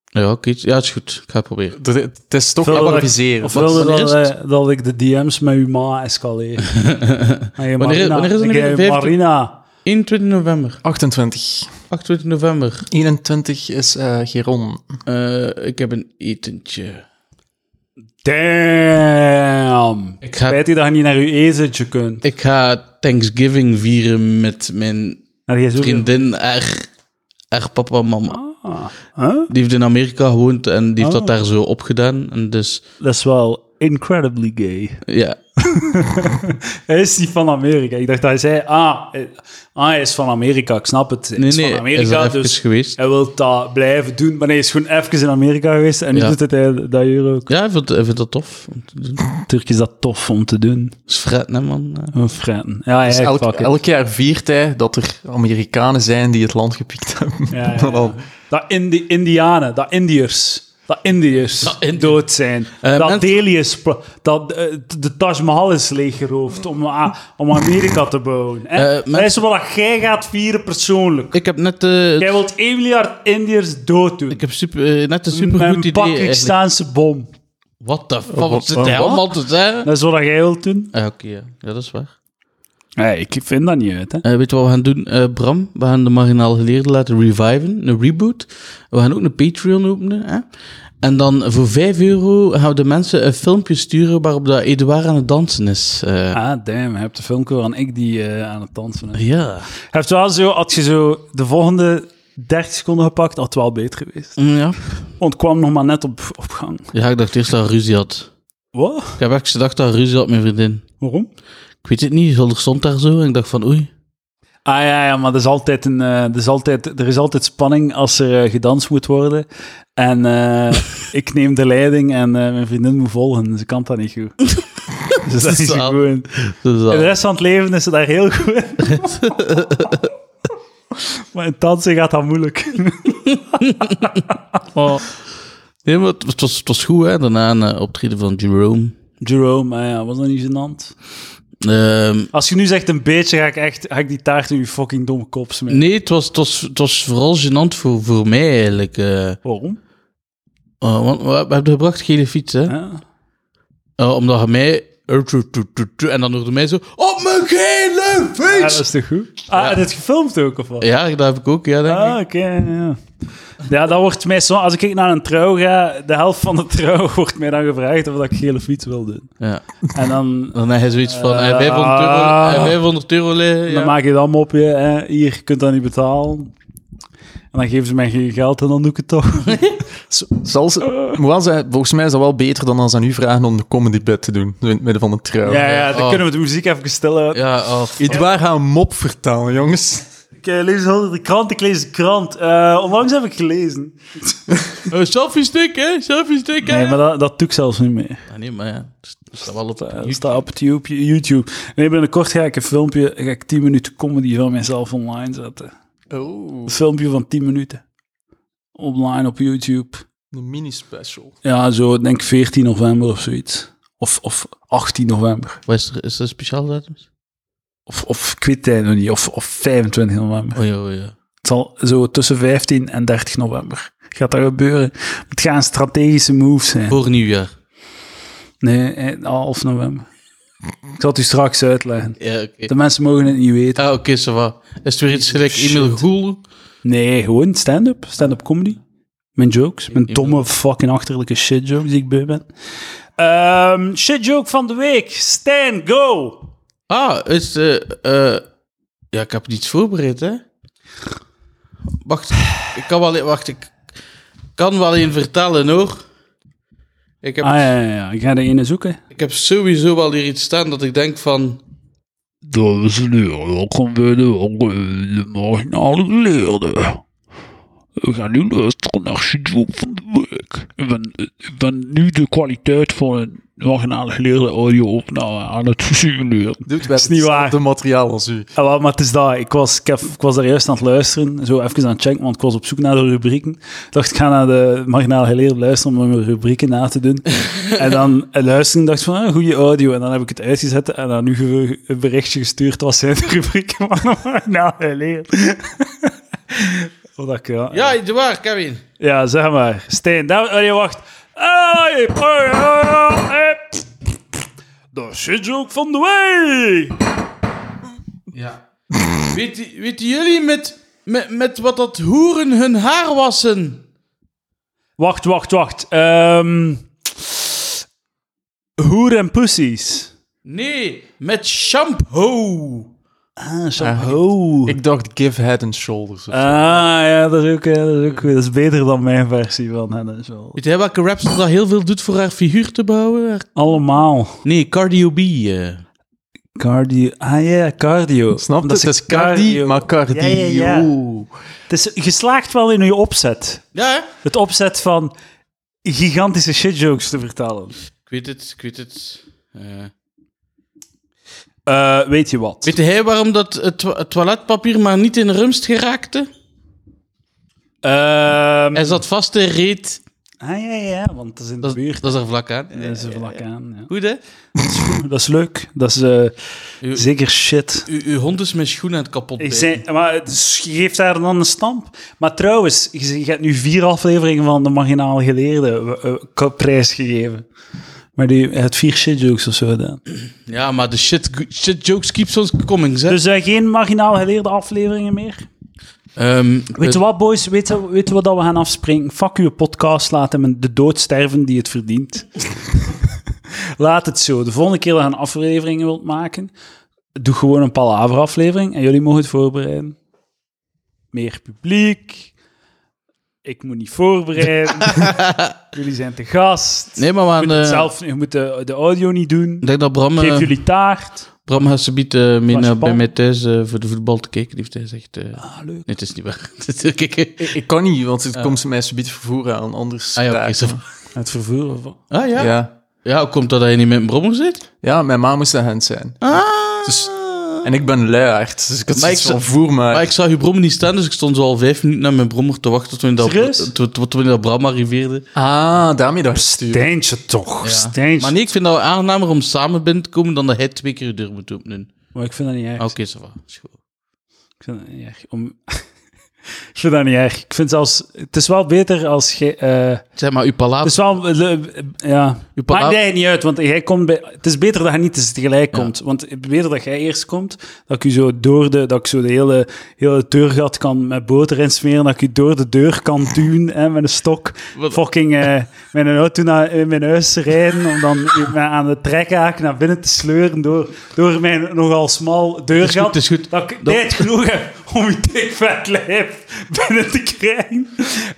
B: Ja, oké. Ja, is goed. Ik ga het proberen.
C: Dat- Het is toch
A: Vullen dat ik-
C: improviseren.
A: Of
C: Wat-
A: wilde
B: wanneer
A: dat,
B: is
A: eh, dat ik de DM's met uw ma escaleer? Hey,
B: wanneer is het nu
A: Ik,
B: weer
A: eh,
B: de vijfde?
A: Marina,
B: 21 november.
C: 28.
B: 28 november.
C: 21 is eh Geron.
B: Eh, ik heb een etentje.
A: Damn.
B: Ik ga,
A: Spijt je dat je niet naar je ezentje kunt.
B: ik ga Thanksgiving vieren met mijn
A: Naar je zoeken.
B: vriendin, haar, haar papa en mama.
A: Ah, huh?
B: Die heeft in Amerika gewoond en die heeft
A: Oh.
B: dat daar zo opgedaan. En dus,
A: Dat is wel incredibly gay.
B: ja.
A: Hij is niet van Amerika. Ik dacht dat hij zei, ah, eh, ah hij is van Amerika. Ik snap het. Hij
B: Nee,
A: is
B: nee,
A: van
B: hij is er
A: Amerika,
B: even
A: dus
B: geweest.
A: hij wil dat blijven doen. Maar hij is gewoon even in Amerika geweest en nu
B: Ja.
A: doet het hij dat hier ook.
B: Ja, hij vindt, hij vindt dat tof. om te doen.
A: Turk is dat tof om te doen.
B: is fret, hè, man. eh.
A: Een fretten. Ja, ja,
C: Dus
A: echt,
C: elk,
A: fuck it.
C: elk jaar viert hij dat er Amerikanen zijn die het land gepikt hebben.
A: Ja, ja,
C: Maar
A: ja.
C: dan-
A: Dat Indi Indianen, dat Indiërs. Dat Indiërs Eh,
B: Dat Indië-
A: dood zijn. dat
B: mensen-
A: Delhi is... pla- Dat eh, t- de Taj Mahal is leeggeroofd om, A- om Amerika te bouwen. Hè?
B: Eh,
A: Dat
B: mensen-
A: is wat jij gaat vieren persoonlijk.
B: Ik heb net, eh,
A: Jij wilt 1 miljard Indiërs dood doen.
B: ik heb super, eh, net een
A: Met
B: supergoed
A: een
B: idee. eigenlijk.
A: Pakistaanse bom.
B: Wat de fuck wat zit
A: wat-
B: hij
A: Oh, wat?
B: allemaal te zeggen?
A: Dat is wat jij wilt doen.
B: Ah, Oké, ja. Ja, dat is waar.
A: Nee, ik vind dat niet uit. Hè?
B: Eh, weet je wat we gaan doen, eh, Bram? We gaan de marginaal geleerden laten reviven, een reboot. We gaan ook een Patreon openen. Hè? En dan voor 5 euro gaan we de mensen een filmpje sturen waarop dat Edouard aan het dansen is. eh.
A: Ah, damn. Je hebt de filmpje van ik die eh, aan het dansen is.
B: Ja.
A: Heeft wel zo, had je zo de volgende 30 seconden gepakt, had het wel beter geweest.
B: Mm, ja.
A: Ontkwam nog maar net op, op gang.
B: Ja, ik dacht eerst dat hij ruzie had.
A: Wat?
B: Ik heb echt gedacht dat hij ruzie had met mijn vriendin.
A: Waarom?
B: Ik weet het niet, Hulder stond daar zo en ik dacht van oei.
A: Ah ja, ja maar dat is altijd een, eh, dat is altijd, er is altijd spanning als er eh, gedanst moet worden. En eh, ik neem de leiding en eh, mijn vriendin moet volgen. Ze kan dat niet goed. dus dat is
B: Zalig.
A: gewoon.
B: Dus dat-
A: De rest van het leven is ze daar heel goed in. maar in dansen gaat dat moeilijk.
B: Oh. Nee, maar het, was- het was, het was goed, hè. Daarna een eh, optreden van Jerome.
A: Jerome, ah ja, was dat niet gênant?
B: Ehm,
A: Als je nu zegt een beetje, ga ik, echt, ga ik die taart in je fucking domme kop smeren.
B: nee, het was, het, was, het was vooral gênant voor, voor mij, eigenlijk. eh.
A: Waarom?
B: Oh, want we hebben gebracht gele fiets, hè.
A: Ja.
B: Eh, omdat je mij... En dan hoorde mij zo... Op mijn gele
A: Ah, dat
B: fiets!
A: is toch goed? Ah, en het gefilmd ook, of wat?
B: Ja, dat heb ik ook, ja, denk ik.
A: Ah, oké, ja. Ja, dat wordt mij zo... Als ik naar een trouw ga, de helft van de trouw wordt mij dan gevraagd of dat ik gele fiets wil doen.
B: Ja.
A: En dan,
B: Dan heb je zoiets van... eh, 500 euro,
A: Ah.
B: eh, 500 euro liggen, ja.
A: dan maak je het allemaal op je. Hè. Hier, je kunt dat niet betalen. En dan geven ze mij geen geld en dan doe ik het toch.
C: Zelfs,
A: Ah.
C: moet wel zeggen, volgens mij is dat wel beter dan als ze aan u vragen om de comedy bed te doen. zo In het midden van de trouw.
A: Ja, ja, dan
B: Oh.
A: kunnen we de muziek even stilhouden.
B: Ja, oh, fuck.
C: Edouard gaat een mop vertalen, jongens.
A: Ik eh, lees altijd de krant, ik lees de krant. Eh, onlangs heb ik gelezen.
B: Eh, selfie stick, hè. Selfie stick, hè.
A: Nee, maar dat, dat doe ik zelfs niet meer.
B: Ah, nee, maar ja. Het staat wel op...
A: Dat staat op het YouTube- YouTube. Nee, binnenkort ga ik een filmpje, ga ik 10 minuten comedy van mezelf online zetten.
C: Oh,
A: Een filmpje van 10 minuten. Online op YouTube.
C: een mini-special.
A: Ja, zo denk ik 14 november of zoiets. Of, of 18 november.
B: Wat Is er, is er speciaal datum?
A: Of, of ik weet het nog niet. Of, of 25 november.
B: Oh ja, oh ja.
A: Het zal zo tussen 15 en 30 november. Gaat dat gebeuren? Het gaat een strategische move zijn.
B: Voor nieuwjaar.
A: Nee, eh, half november. Ik zal het u straks uitleggen.
B: Ja, oké.
A: De mensen mogen het niet weten.
B: Ah, oké, ça va. Is het weer iets gelijk Emil Goel?
A: Nee, gewoon stand-up. Stand-up comedy. Mijn jokes. Mijn domme, fucking achterlijke shit jokes die ik bij ben. Ehm, shit joke van de week. Stan, go!
B: Ah, is... eh eh, ja, ik heb niets voorbereid, hè. Wacht, ik kan wel... e-, Wacht, ik kan wel een vertellen, hoor. Ik heb,
A: Ah ja, ja, ja. ik ga er ene zoeken.
B: ik heb sowieso wel hier iets staan dat ik denk van...
D: Dames en heren, welkom bij de de marginale geleerden. We gaan nu luisteren naar Shitjoek van de Week. Ik ben, ik ben nu de kwaliteit van een marginale geleerde audio-opname aan het simuleren.
C: Doet wij
A: Is niet waar.
C: hetzelfde materiaal als u.
A: Ah, wel, maar het is dat. Ik was, ik, heb- ik was daar juist aan het luisteren. Zo even aan het checken, want ik was op zoek naar de rubrieken. Ik dacht, ik ga naar de marginale geleerden luisteren om mijn rubrieken na te doen. en dan eh, luisteren en dacht ik van, ah, goede audio. En dan heb ik het uitgezet en dan nu ge- een berichtje gestuurd. Wat zijn de rubrieken van de marginale geleerden? Wat ik, ja.
B: Ja, het is waar, Kevin.
A: Ja, zeg maar. Steen, daar... Oh, je wacht. Hey, oh, ja, ja, hey. De shitjoke van de week!
B: Ja. Weet, weten jullie met, met, met wat dat hoeren hun haar wassen?
A: Wacht, wacht, wacht. Ehm hoer en pussies.
B: Nee, met shampoo.
A: Ah, shampoo.
C: Ik dacht give head and shoulders.
A: Ah, ja, dat is ook, eh, dat is ook goed. Dat is beter dan mijn versie van Head and Shoulders.
B: Weet jij welke rapster dat heel veel doet voor haar figuur te bouwen? Haar-
A: Allemaal.
B: Nee, Cardio B. eh.
A: Cardio. Ah ja, cardio.
C: Snap je?
A: Omdat
C: Het
A: ze
C: is cardi, maar cardio.
A: Ja, ja, ja. Het is geslaagd wel in je opzet.
B: Ja, hè?
A: Het opzet van gigantische shitjokes te vertellen.
B: ik weet het, ik weet het. Eh.
A: Eh, weet je wat?
B: Weet hij waarom dat het to- het toiletpapier maar niet in rumst geraakte?
A: Ehm,
B: Hij zat vast in reet.
A: ah ja, ja, want dat is in de
B: Dat,
A: buurt.
B: is- dat is er vlak aan.
A: Dat is er vlak aan. Ja.
B: Goed, hè?
A: Dat is leuk. Dat is eh,
B: Uw-
A: zeker shit.
B: U, uw hond is mijn schoen aan het kapot.
A: Ik
B: bijten.
A: zei, maar het is- je geeft daar dan een stamp. Maar trouwens, je zegt- je hebt nu vier afleveringen van de marginale geleerde eh, eh, prijs gegeven. Maar die, hij had vier shitjokes of zo gedaan.
B: Ja, maar de shit, shit jokes keeps ons coming, hè?
A: Dus eh, geen marginaal geleerde afleveringen meer?
B: Ehm,
A: Weet je wat, boys? Weet je, weet je wat dat we gaan afspringen? Fuck uw podcast, laat hem de dood sterven die het verdient. laat het zo. De volgende keer dat je een aflevering wilt maken, doe gewoon een palaver-aflevering en jullie mogen het voorbereiden. Meer publiek. Ik moet niet voorbereiden. jullie zijn te gast.
B: Nee, maar we
A: je,
B: gaan,
A: moet het
B: eh,
A: zelf, je moet de, de audio niet doen.
B: Ik denk dat Bram,
A: Geef
B: eh,
A: jullie taart.
B: Bram gaat ze biedt mee naar, bij
A: Flashbal.
B: mij thuis eh, voor de voetbal te kijken. Die heeft hij gezegd... eh, Nee,
A: Ah, leuk.
B: het is niet waar. Kijk, eh.
C: Ik, ik kan niet, want het komt ze mij subiet vervoeren aan anders.
B: ah ja, oké,
C: raak.
B: zo.
A: Het vervoeren van...
B: ah, ja? ja.
C: ja.
B: hoe komt dat hij niet met een brommer zit?
C: ja, mijn ma moest een hand zijn.
B: Ah.
C: Dus- En ik ben luiaard, dus ik had
B: Maar
C: zoiets
B: ik
C: van
B: z-
C: voer maar.
B: Maar ik zag uw brommer niet staan, dus ik stond zo al vijf minuten naar mijn brommer te wachten tot we in dat,
A: Serieus?
B: tot, tot we in dat Bram arriveerde.
C: Ah, daarmee dat stuur.
A: Steintje toch,
B: Ja.
A: steintje.
B: Maar nee, ik vind dat aangenamer om samen binnen te komen dan dat hij twee keer de deur moet openen.
A: Maar ik vind dat niet erg.
B: Ah, Oké, zo va. Is goed.
A: Ik vind dat niet erg. Om... ik vind dat niet erg. Ik vind zelfs... Het is wel beter als je... eh,
B: Zeg maar, uw
A: het
B: palaver.
A: is wel... le- ja.
B: Uw
A: Maakt
B: palaver.
A: jij niet uit, want jij komt bij... Het is beter dat je niet tegelijk komt. Want het is beter dat jij eerst komt, dat ik je zo door de... Dat ik zo de hele, hele deurgat kan met boter insmeren, dat ik je door de deur kan duwen hè, met een stok.
B: Wat-
A: Fucking eh, met een auto naar in mijn huis te rijden, om dan met- aan de trekhaak naar binnen te sleuren door, door mijn nogal smal deurgat.
B: Het is goed.
A: Dat ik tijd genoeg heb om je dik vet lijf binnen te krijgen.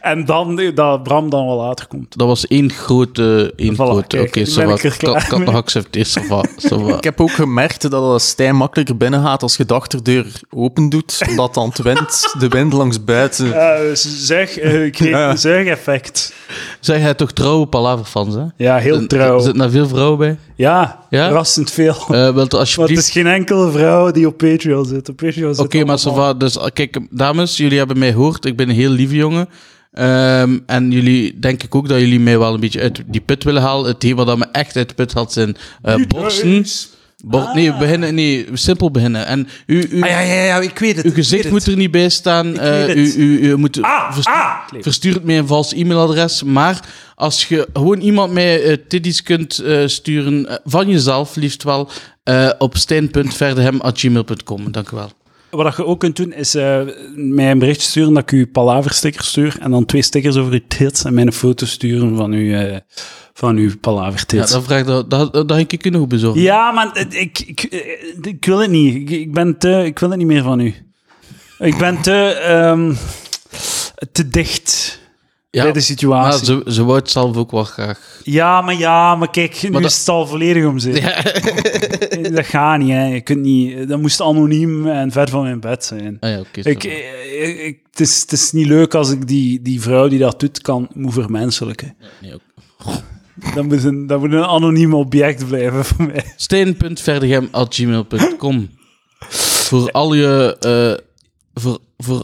A: En dan eh, dat Bram dan wel later komt.
B: Dat was één grote... Één
A: Voilà,
B: grote...
A: kijk,
B: Oké,
A: nu
B: zo
A: ben
B: va.
A: ik er
B: Ik kan
A: klaar
B: ik kan het nog
A: mee.
B: accepteren, zo va. Zo va.
C: Ik heb ook gemerkt dat als Stijn makkelijker binnen gaat als je de achterdeur open doet, omdat dan het wind, de wind langs buiten.
A: Eh, zeg, eh, ik kreeg
C: Ja.
A: een zuigeffect.
B: Zeg, jij toch trouwe palaverfans, hè?
A: Ja, heel trouw.
B: Er zitten daar veel vrouwen bij.
A: Ja,
B: Ja?
A: verrassend veel.
B: Eh wilt u
A: Want het
B: alsjeblieft...
A: is geen enkele vrouw die op Patreon zit. Op Patreon zit
B: Oké, maar zo
A: allemaal-
B: va. Dus eh, kijk, dames, jullie hebben mij gehoord. Ik ben een heel lieve jongen. Ehm, en jullie, denk ik ook dat jullie mij wel een beetje uit die put willen halen. Het thema dat me echt uit de put haalt zijn eh borsten. Bor- Nee, beginnen, nee, simpel beginnen. En u, u,
C: Ah, ja, ja, ja, ik weet het.
B: uw gezicht moet er niet bij staan. Eh, u,
A: weet het.
B: u, u moet
A: Ah,
B: verstu-
A: ah!
B: verstuurt mij een vals e-mailadres. Maar als je gewoon iemand mij eh, tiddies kunt eh, sturen, eh, van jezelf liefst wel, eh, op stijn.verdehem.gmail.com. Dank u wel.
A: Wat je ook kunt doen, is eh, mij een berichtje sturen dat ik u palaversticker stuur. En dan twee stickers over uw tits en mij een foto sturen van uw, eh, van uw palavertits.
B: Ja, dan vraag ik dat, dat, dat had ik kunnen bezorgen.
A: Ja, maar het- ik, ik, ik, ik wil het niet. Ik, ik ben te, ik wil het niet meer van u. Ik ben te, ehm, te dicht
B: Ja,
A: bij de
B: maar
A: situatie.
B: ze, ze wou het zelf ook wel graag.
A: Ja, maar ja, maar kijk, nu
B: dat-
A: is het al volledig om zeep.
B: Ja.
A: Dat gaat niet, hè. Je kunt niet... Dat moest anoniem en ver van mijn bed zijn.
B: Ah ja, oké.
A: Ik,
B: sorry.
A: ik, ik- het, is, het is niet leuk als ik die, die vrouw die dat doet, kan moet vermenselijken.
B: Nee, ook.
A: Dat moet, een, dat moet een anoniem object blijven voor mij.
B: Steen.verdegem.gmail.com Voor al je... eh, voor, voor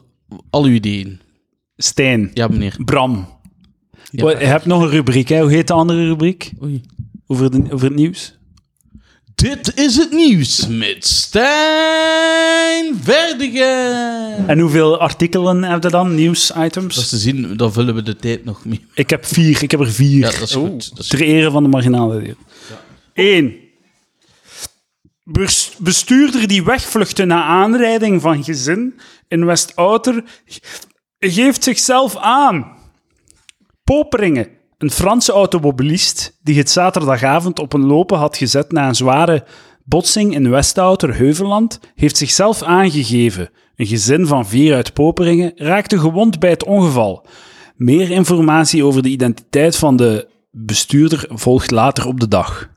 B: al uw ideeën.
A: Stijn.
B: Ja, meneer.
A: Bram.
B: Ja.
A: Wat- je hebt nog een rubriek, hè. Hoe heet de andere rubriek?
B: Oei.
A: Over, de, over het nieuws?
B: Dit is het nieuws met Stijn Verdegem.
A: En hoeveel artikelen heb je dan?
B: Dat is
A: Nieuwsitems?
B: te zien, dan vullen we de tijd nog mee.
A: Ik heb vier. Ik heb er vier.
B: Ja, dat is goed. Dat is
A: ter ere van de marginale deel. Eén. Bers- Bestuurder die wegvluchtte na aanrijding van gezin in Westouter geeft zichzelf aan. Poperingen. Een Franse automobilist die het zaterdagavond op een lopen had gezet na een zware botsing in Westouter-Heuveland, heeft zichzelf aangegeven. Een gezin van vier uit Poperingen raakte gewond bij het ongeval. Meer informatie over de identiteit van de bestuurder volgt later op de dag.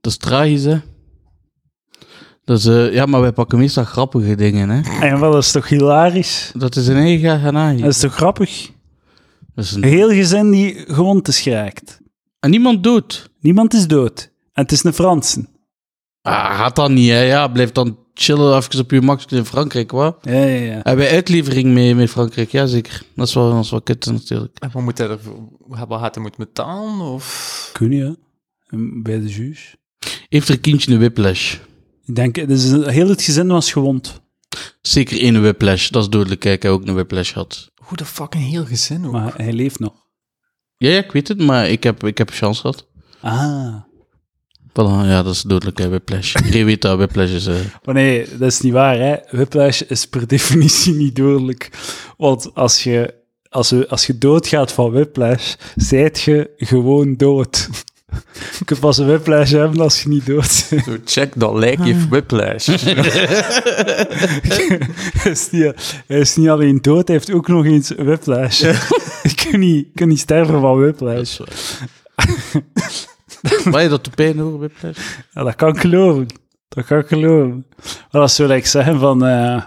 B: Dat is tragisch, hè? Dat is, eh, ja, maar wij pakken meestal grappige dingen, hè?
A: En wel, dat is toch hilarisch?
B: Dat is een eigen genaaid.
A: Dat is toch grappig?
B: Dat is een...
A: Een heel gezin die gewond is geraakt.
B: En niemand doet.
A: Niemand is dood. En het is een Fransen.
B: Ah, gaat dat niet, hè? Ja, blijf dan chillen even op je max in Frankrijk, wat?
A: Ja, ja, ja.
B: Hebben wij uitlevering mee met Frankrijk? Ja, zeker. Dat is wel, dat is wel kut, natuurlijk.
C: En wat moet hij ervoor... Wat gaat hij moeten betalen? Of...
A: Kun je, hè? Ehm, bij de juge.
B: Heeft er kindje een whiplash?
A: Ik denk, het is een- heel het gezin was gewond.
B: Zeker één whiplash. Dat is dodelijk. Kijk, hij ook een whiplash had.
C: Hoe de fuck een heel gezin, hoor.
A: Maar hij leeft nog.
B: Ja, ja, ik weet het, maar ik heb, ik heb een chance gehad.
A: Ah.
B: Voilà, ja, dat is dodelijk, hè, whiplash. Iedereen weet dat whiplash is... eh,
A: Maar nee, dat is niet waar. Hè? Whiplash is per definitie niet dodelijk. Want als je, als je, als je doodgaat van whiplash, zijt je gewoon dood. Je kunt pas een whiplash hebben als je niet dood bent.
C: Zo, check dat lijk heeft whiplash.
A: Hij is niet, hij is niet alleen dood, hij heeft ook nog eens whiplash. Ik kan niet, ik kan niet sterven van
B: Dat
A: whiplash.
B: is waar. Maar je dat de pijn hoor, whiplash?
A: Ja, dat kan ik geloven. Dat kan ik geloven. Maar dat zou ik zeggen van... eh,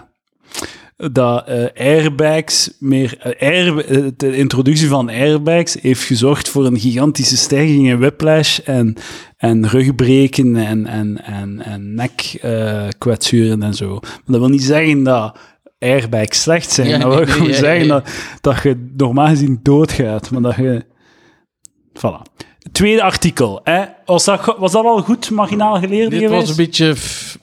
A: dat eh, airbags meer... eh, air- eh, de introductie van airbags heeft gezorgd voor een gigantische stijging in whiplash en, en rugbreken en, en, en, en nekkwetsuren en zo. Maar dat wil niet zeggen dat airbags slecht zijn.
B: Ja,
A: dat wil
B: nee, nee,
A: gewoon
B: ja,
A: zeggen
B: ja.
A: Dat, dat je normaal gezien doodgaat, maar dat je... Voilà. Tweede artikel. Hè? Was, dat, go- was dat al goed marginaal geleerd
B: Dit
A: geweest?
B: was een beetje... f-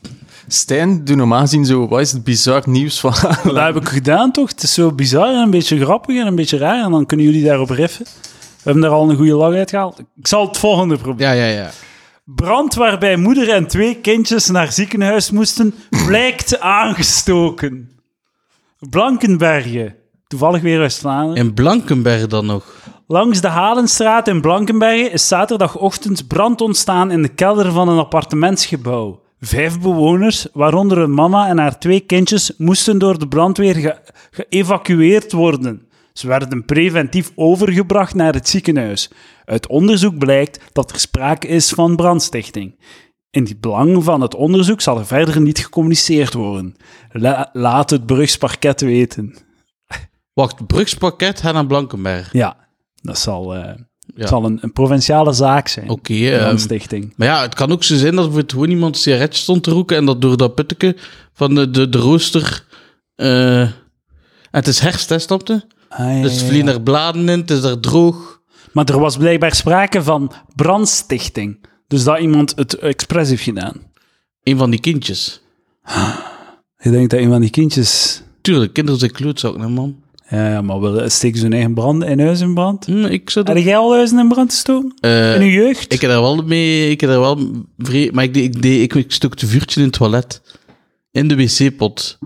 C: Stijn, doe normaal gezien zo... Wat is het bizar nieuws van...
A: Dat heb ik gedaan, toch? Het is zo bizar en een beetje grappig en een beetje raar. En dan kunnen jullie daarop riffen. We hebben daar al een goede lach uit gehaald. Ik zal het volgende proberen.
B: Ja, ja, ja.
A: Brand waarbij moeder en twee kindjes naar ziekenhuis moesten, blijkt aangestoken. Blankenbergen. Toevallig weer West-Vlaanderen.
B: In Blankenberg dan nog.
A: Langs de Halenstraat in Blankenbergen is zaterdagochtend brand ontstaan in de kelder van een appartementsgebouw. Vijf bewoners, waaronder een mama en haar twee kindjes, moesten door de brandweer ge- geëvacueerd worden. Ze werden preventief overgebracht naar het ziekenhuis. Uit onderzoek blijkt dat er sprake is van brandstichting. In het belang van het onderzoek zal er verder niet gecommuniceerd worden. La- laat het Brugsparket weten.
B: Wacht, Brugspakket gaat naar Blankenberg.
A: Ja, dat zal, eh,
B: Ja.
A: zal een, een provinciale zaak zijn.
B: Oké, ehm,
A: Een stichting.
B: maar ja, het kan ook zo zijn dat er gewoon iemand een sigaretje stond te roken en dat door dat putteke van de, de, de rooster... eh, en het is herfst, hè, snapte? Dus er vliegen er bladen in, het is daar droog.
A: Maar er was blijkbaar sprake van brandstichting. Dus dat iemand het expres heeft gedaan.
B: Een van die kindjes.
A: Je denkt dat een van die kindjes...
B: Tuurlijk, kinderen zijn klootzak, hè, man.
A: Ja, ja, maar wel, steken ze hun eigen brand in huis in brand?
B: Hm, ik zou dat...
A: Had jij al huizen in brand gestoken?
B: eh,
A: in uw jeugd?
B: Ik heb daar wel mee, ik heb daar wel vrij, maar ik, deed- ik, deed- ik, ik stookte vuurtje in het toilet. In de wc-pot.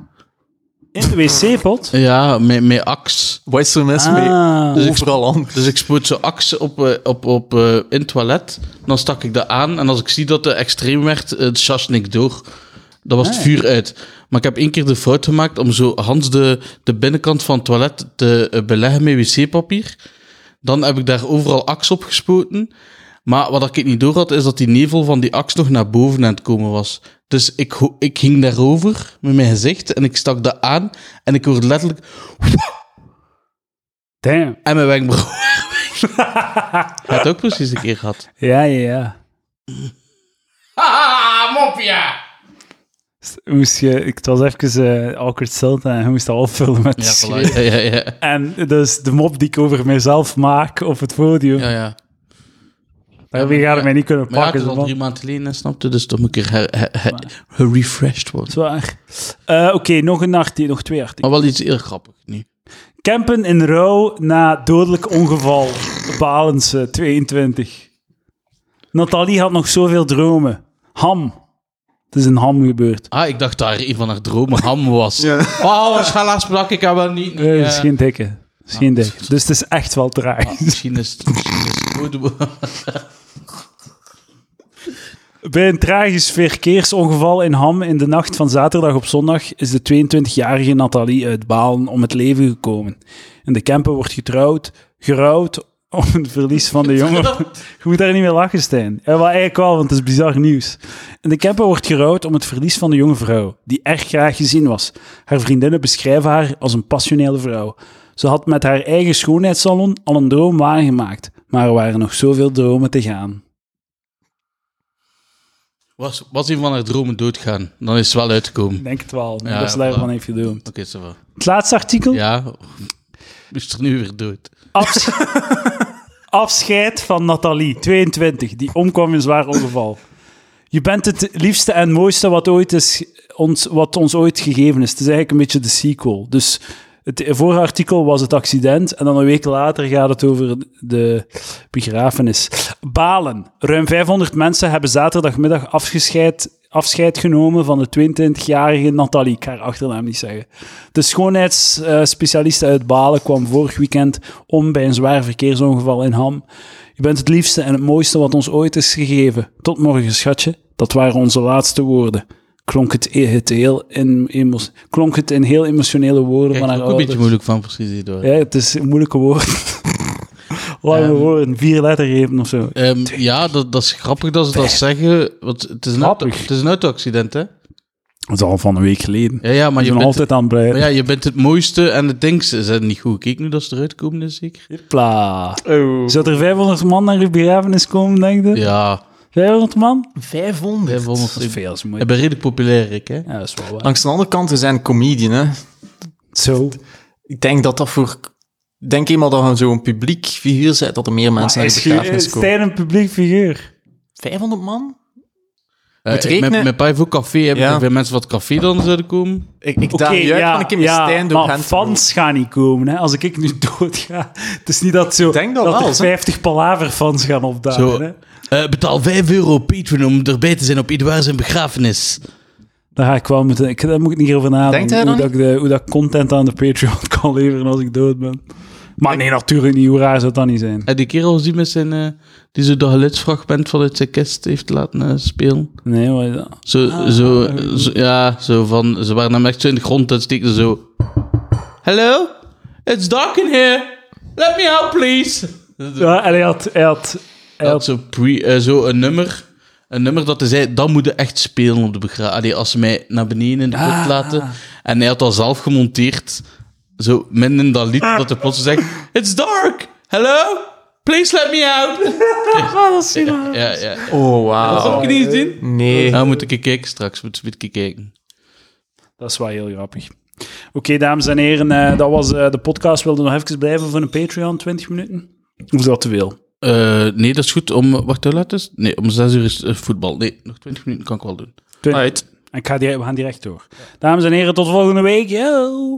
A: In de wc-pot?
B: Ja, met, met aks.
C: Wat is er mis
A: Ah.
C: mee? Overal anders.
B: Dus ik spoot zo aks op, eh, op, op, eh, in het toilet. Dan stak ik dat aan. En als ik zie dat het extreem werd, eh, het sjasne ik door. Dan was het vuur uit. Maar ik heb één keer de fout gemaakt om zo Hans de, de binnenkant van het toilet te eh, beleggen met wc-papier. Dan heb ik daar overal aks op gespoten. Maar wat ik niet door had, is dat die nevel van die aks nog naar boven aan het komen was. Dus ik, ho- ik ging daarover met mijn gezicht en ik stak dat aan. En ik hoorde letterlijk...
A: Damn.
B: En mijn wenkbrauw. Hij had ook precies een keer gehad.
A: Ja, ja, ja.
B: Haha, mopje!
A: Moest je, ik- het was even eh, awkward stilte en je moest dat opvullen met
B: Ja,
A: schreeuwen.
B: voilà. ja, ja, ja.
A: En dus de mop die ik over mezelf maak op het podium,
B: ja, ja.
A: daar heb je
B: ja.
A: mij niet kunnen
B: Maar ja, het
A: pakken.
B: is
A: zo
B: al
A: van-
B: drie maanden geleden, hè, snapte? Dus toch moet ik er her- her- her- gerefreshed worden.
A: Zwaar. Eh, Oké, nog een artikel, nog twee
B: Maar
A: artikelen.
B: wel iets heel grappig nu.
A: Campen in rouw na dodelijk ongeval. Balense 22. Nathalie had nog zoveel dromen. Ham. Het is in ham gebeurd.
B: Ah, ik dacht dat een van haar dromen ham was. Oh, waarschijnlijk sprak ik haar wel niet.
A: Nee,
B: Ja.
A: Eh,
B: Ah.
A: het is geen dikke. Het is geen dik. Dus het is echt wel traag.
B: Misschien is het... misschien is het goed.
A: Bij een tragisch verkeersongeval in Ham in de nacht van zaterdag op zondag is de 22-jarige Nathalie uit Balen om het leven gekomen. In de camper wordt getrouwd, gerouwd om het verlies van de jongen. Je moet daar niet mee lachen, Stijn. Ja, wel eigenlijk wel, want het is bizar nieuws. In de camper wordt gerouwd om het verlies van de jonge vrouw, die erg graag gezien was. Haar vriendinnen beschrijven haar als een passionele vrouw. Ze had met haar eigen schoonheidssalon al een droom waargemaakt, maar er waren nog zoveel dromen te gaan.
B: Was, was een van haar dromen doodgaan, dan is het wel uitgekomen.
A: Ik denk het wel.
B: Ja,
A: dat is daarvan
B: voilà.
A: heeft gedoemd.
B: Oké, zo wel.
A: Het laatste artikel.
B: Ja, is er nu weer dood.
A: Afs- afscheid van Nathalie, 22, die omkwam in een zwaar ongeval. Je bent het liefste en mooiste wat, ooit is, ons, wat ons ooit gegeven is. Het is eigenlijk een beetje de sequel. Dus het vorige artikel was het accident en dan een week later gaat het over de begrafenis. Balen. Ruim 500 mensen hebben zaterdagmiddag afgescheid, afscheid genomen van de 22-jarige Nathalie. Ik ga haar achternaam niet zeggen. De schoonheidsspecialiste uit Balen kwam vorig weekend om bij een zwaar verkeersongeval in Ham. Je bent het liefste en het mooiste wat ons ooit is gegeven. Tot morgen, schatje. Dat waren onze laatste woorden. Klonk het, e- het heel, in, emo- klonk het in heel emotionele woorden
B: Ik
A: van
B: er
A: haar
B: ook een
A: ouders.
B: beetje moeilijk van, precies, Eduard.
A: Ja, het is moeilijke woord. Lange
B: Ehm,
A: woorden, vier lettergrepen of zo.
B: Ehm, ja, dat, dat is grappig dat ze dat zeggen. Want het is een, auto,
A: Grappig.
B: het is een auto-accident, hè?
A: Dat is al van een week geleden.
B: Ja, ja, maar
A: Maar
B: je
A: je
B: bent,
A: altijd aan het
B: maar
A: breien.
B: ja, je bent het mooiste en het ding ze zijn niet goed. Kijk nu dat ze eruit komen, dus zeker.
A: Pla. Zou er 500 man naar je begrafenis komen, denk je?
B: Ja,
A: 500 man?
C: 500.
B: hè, volgens
A: Dat is veel, dat is mooi.
B: Ik ben redelijk populair, Rick, hè?
A: Ja, dat is wel waar.
C: Langs de andere kant, er zijn comedian, hè.
A: Zo.
C: Ik denk dat dat voor... Ik denk eenmaal dat je zo'n publiek figuur bent, dat er meer mensen naar de begrafenis komen.
A: Stijn een publiek figuur.
C: 500 man?
B: Eh,
C: Moet
B: ik-
C: rekenen-
B: Met, met Pai voor café hebben
C: Ja.
B: er veel mensen wat café dan zouden komen.
C: Ik, ik
A: Oké,
C: daag je uit van een keer met
A: ja,
C: Stijn door
A: maar
C: hand te lopen.
A: fans gaan niet komen. Hè. Als ik nu doodga, het is niet dat, zo,
C: denk dat wel,
A: er
C: hè.
A: 50 palaver-fans gaan opdagen.
B: Zo,
A: Hè.
B: eh, betaal 5 euro op Patreon om erbij te zijn op Eduard zijn begrafenis.
A: Daar ga ik wel moeten... Ik, daar moet ik niet over nadenken.
C: Denkt hij
A: hoe,
C: dan
A: dat ik de, hoe dat ik content aan de Patreon kan leveren als ik dood ben. Maar nee, natuurlijk niet. Hoe raar zou dat niet zijn?
B: Heb je die kerel gezien met zijn... eh, die zo dat geluidsfragment vanuit zijn kist heeft laten eh, spelen?
A: Nee, wat is dat?
B: Zo, zo, zo- Ah, ja, zo van... Ze waren hem echt zo in de grond en steken zo... Hello? It's dark in here. Let me out, please.
C: Dus-
A: Ja, en hij had... Hij had, hij
B: Dat
A: had
B: zo, pre, eh, zo een nummer... Een nummer dat hij zei, dat moet je echt spelen op de begrafenis. Als ze mij naar beneden in de put laten. En hij had dat zelf gemonteerd. Zo, midden in dat lied, dat hij plots zegt... It's dark! Hello? Please let me out! Ah, Ja, ja. ja.
C: Oh, wauw.
B: Heb je die gezien?
C: Nee.
B: Nou, moet ik kijken straks. Moet moet ik kijken.
A: dat is wel heel grappig. Oké, dames en heren. eh, dat was eh, de podcast. Wilde nog even blijven voor een Patreon, 20 minuten? Of is dat te veel?
B: Eh, nee, dat is goed. Om, wacht, hoe laat is het? Nee, om zes uur is eh, voetbal. Nee, nog twintig minuten kan ik wel doen.
A: Twintig.
C: Uit.
A: Ik ga direct- we gaan direct door. Dames en heren, tot volgende week. Yo!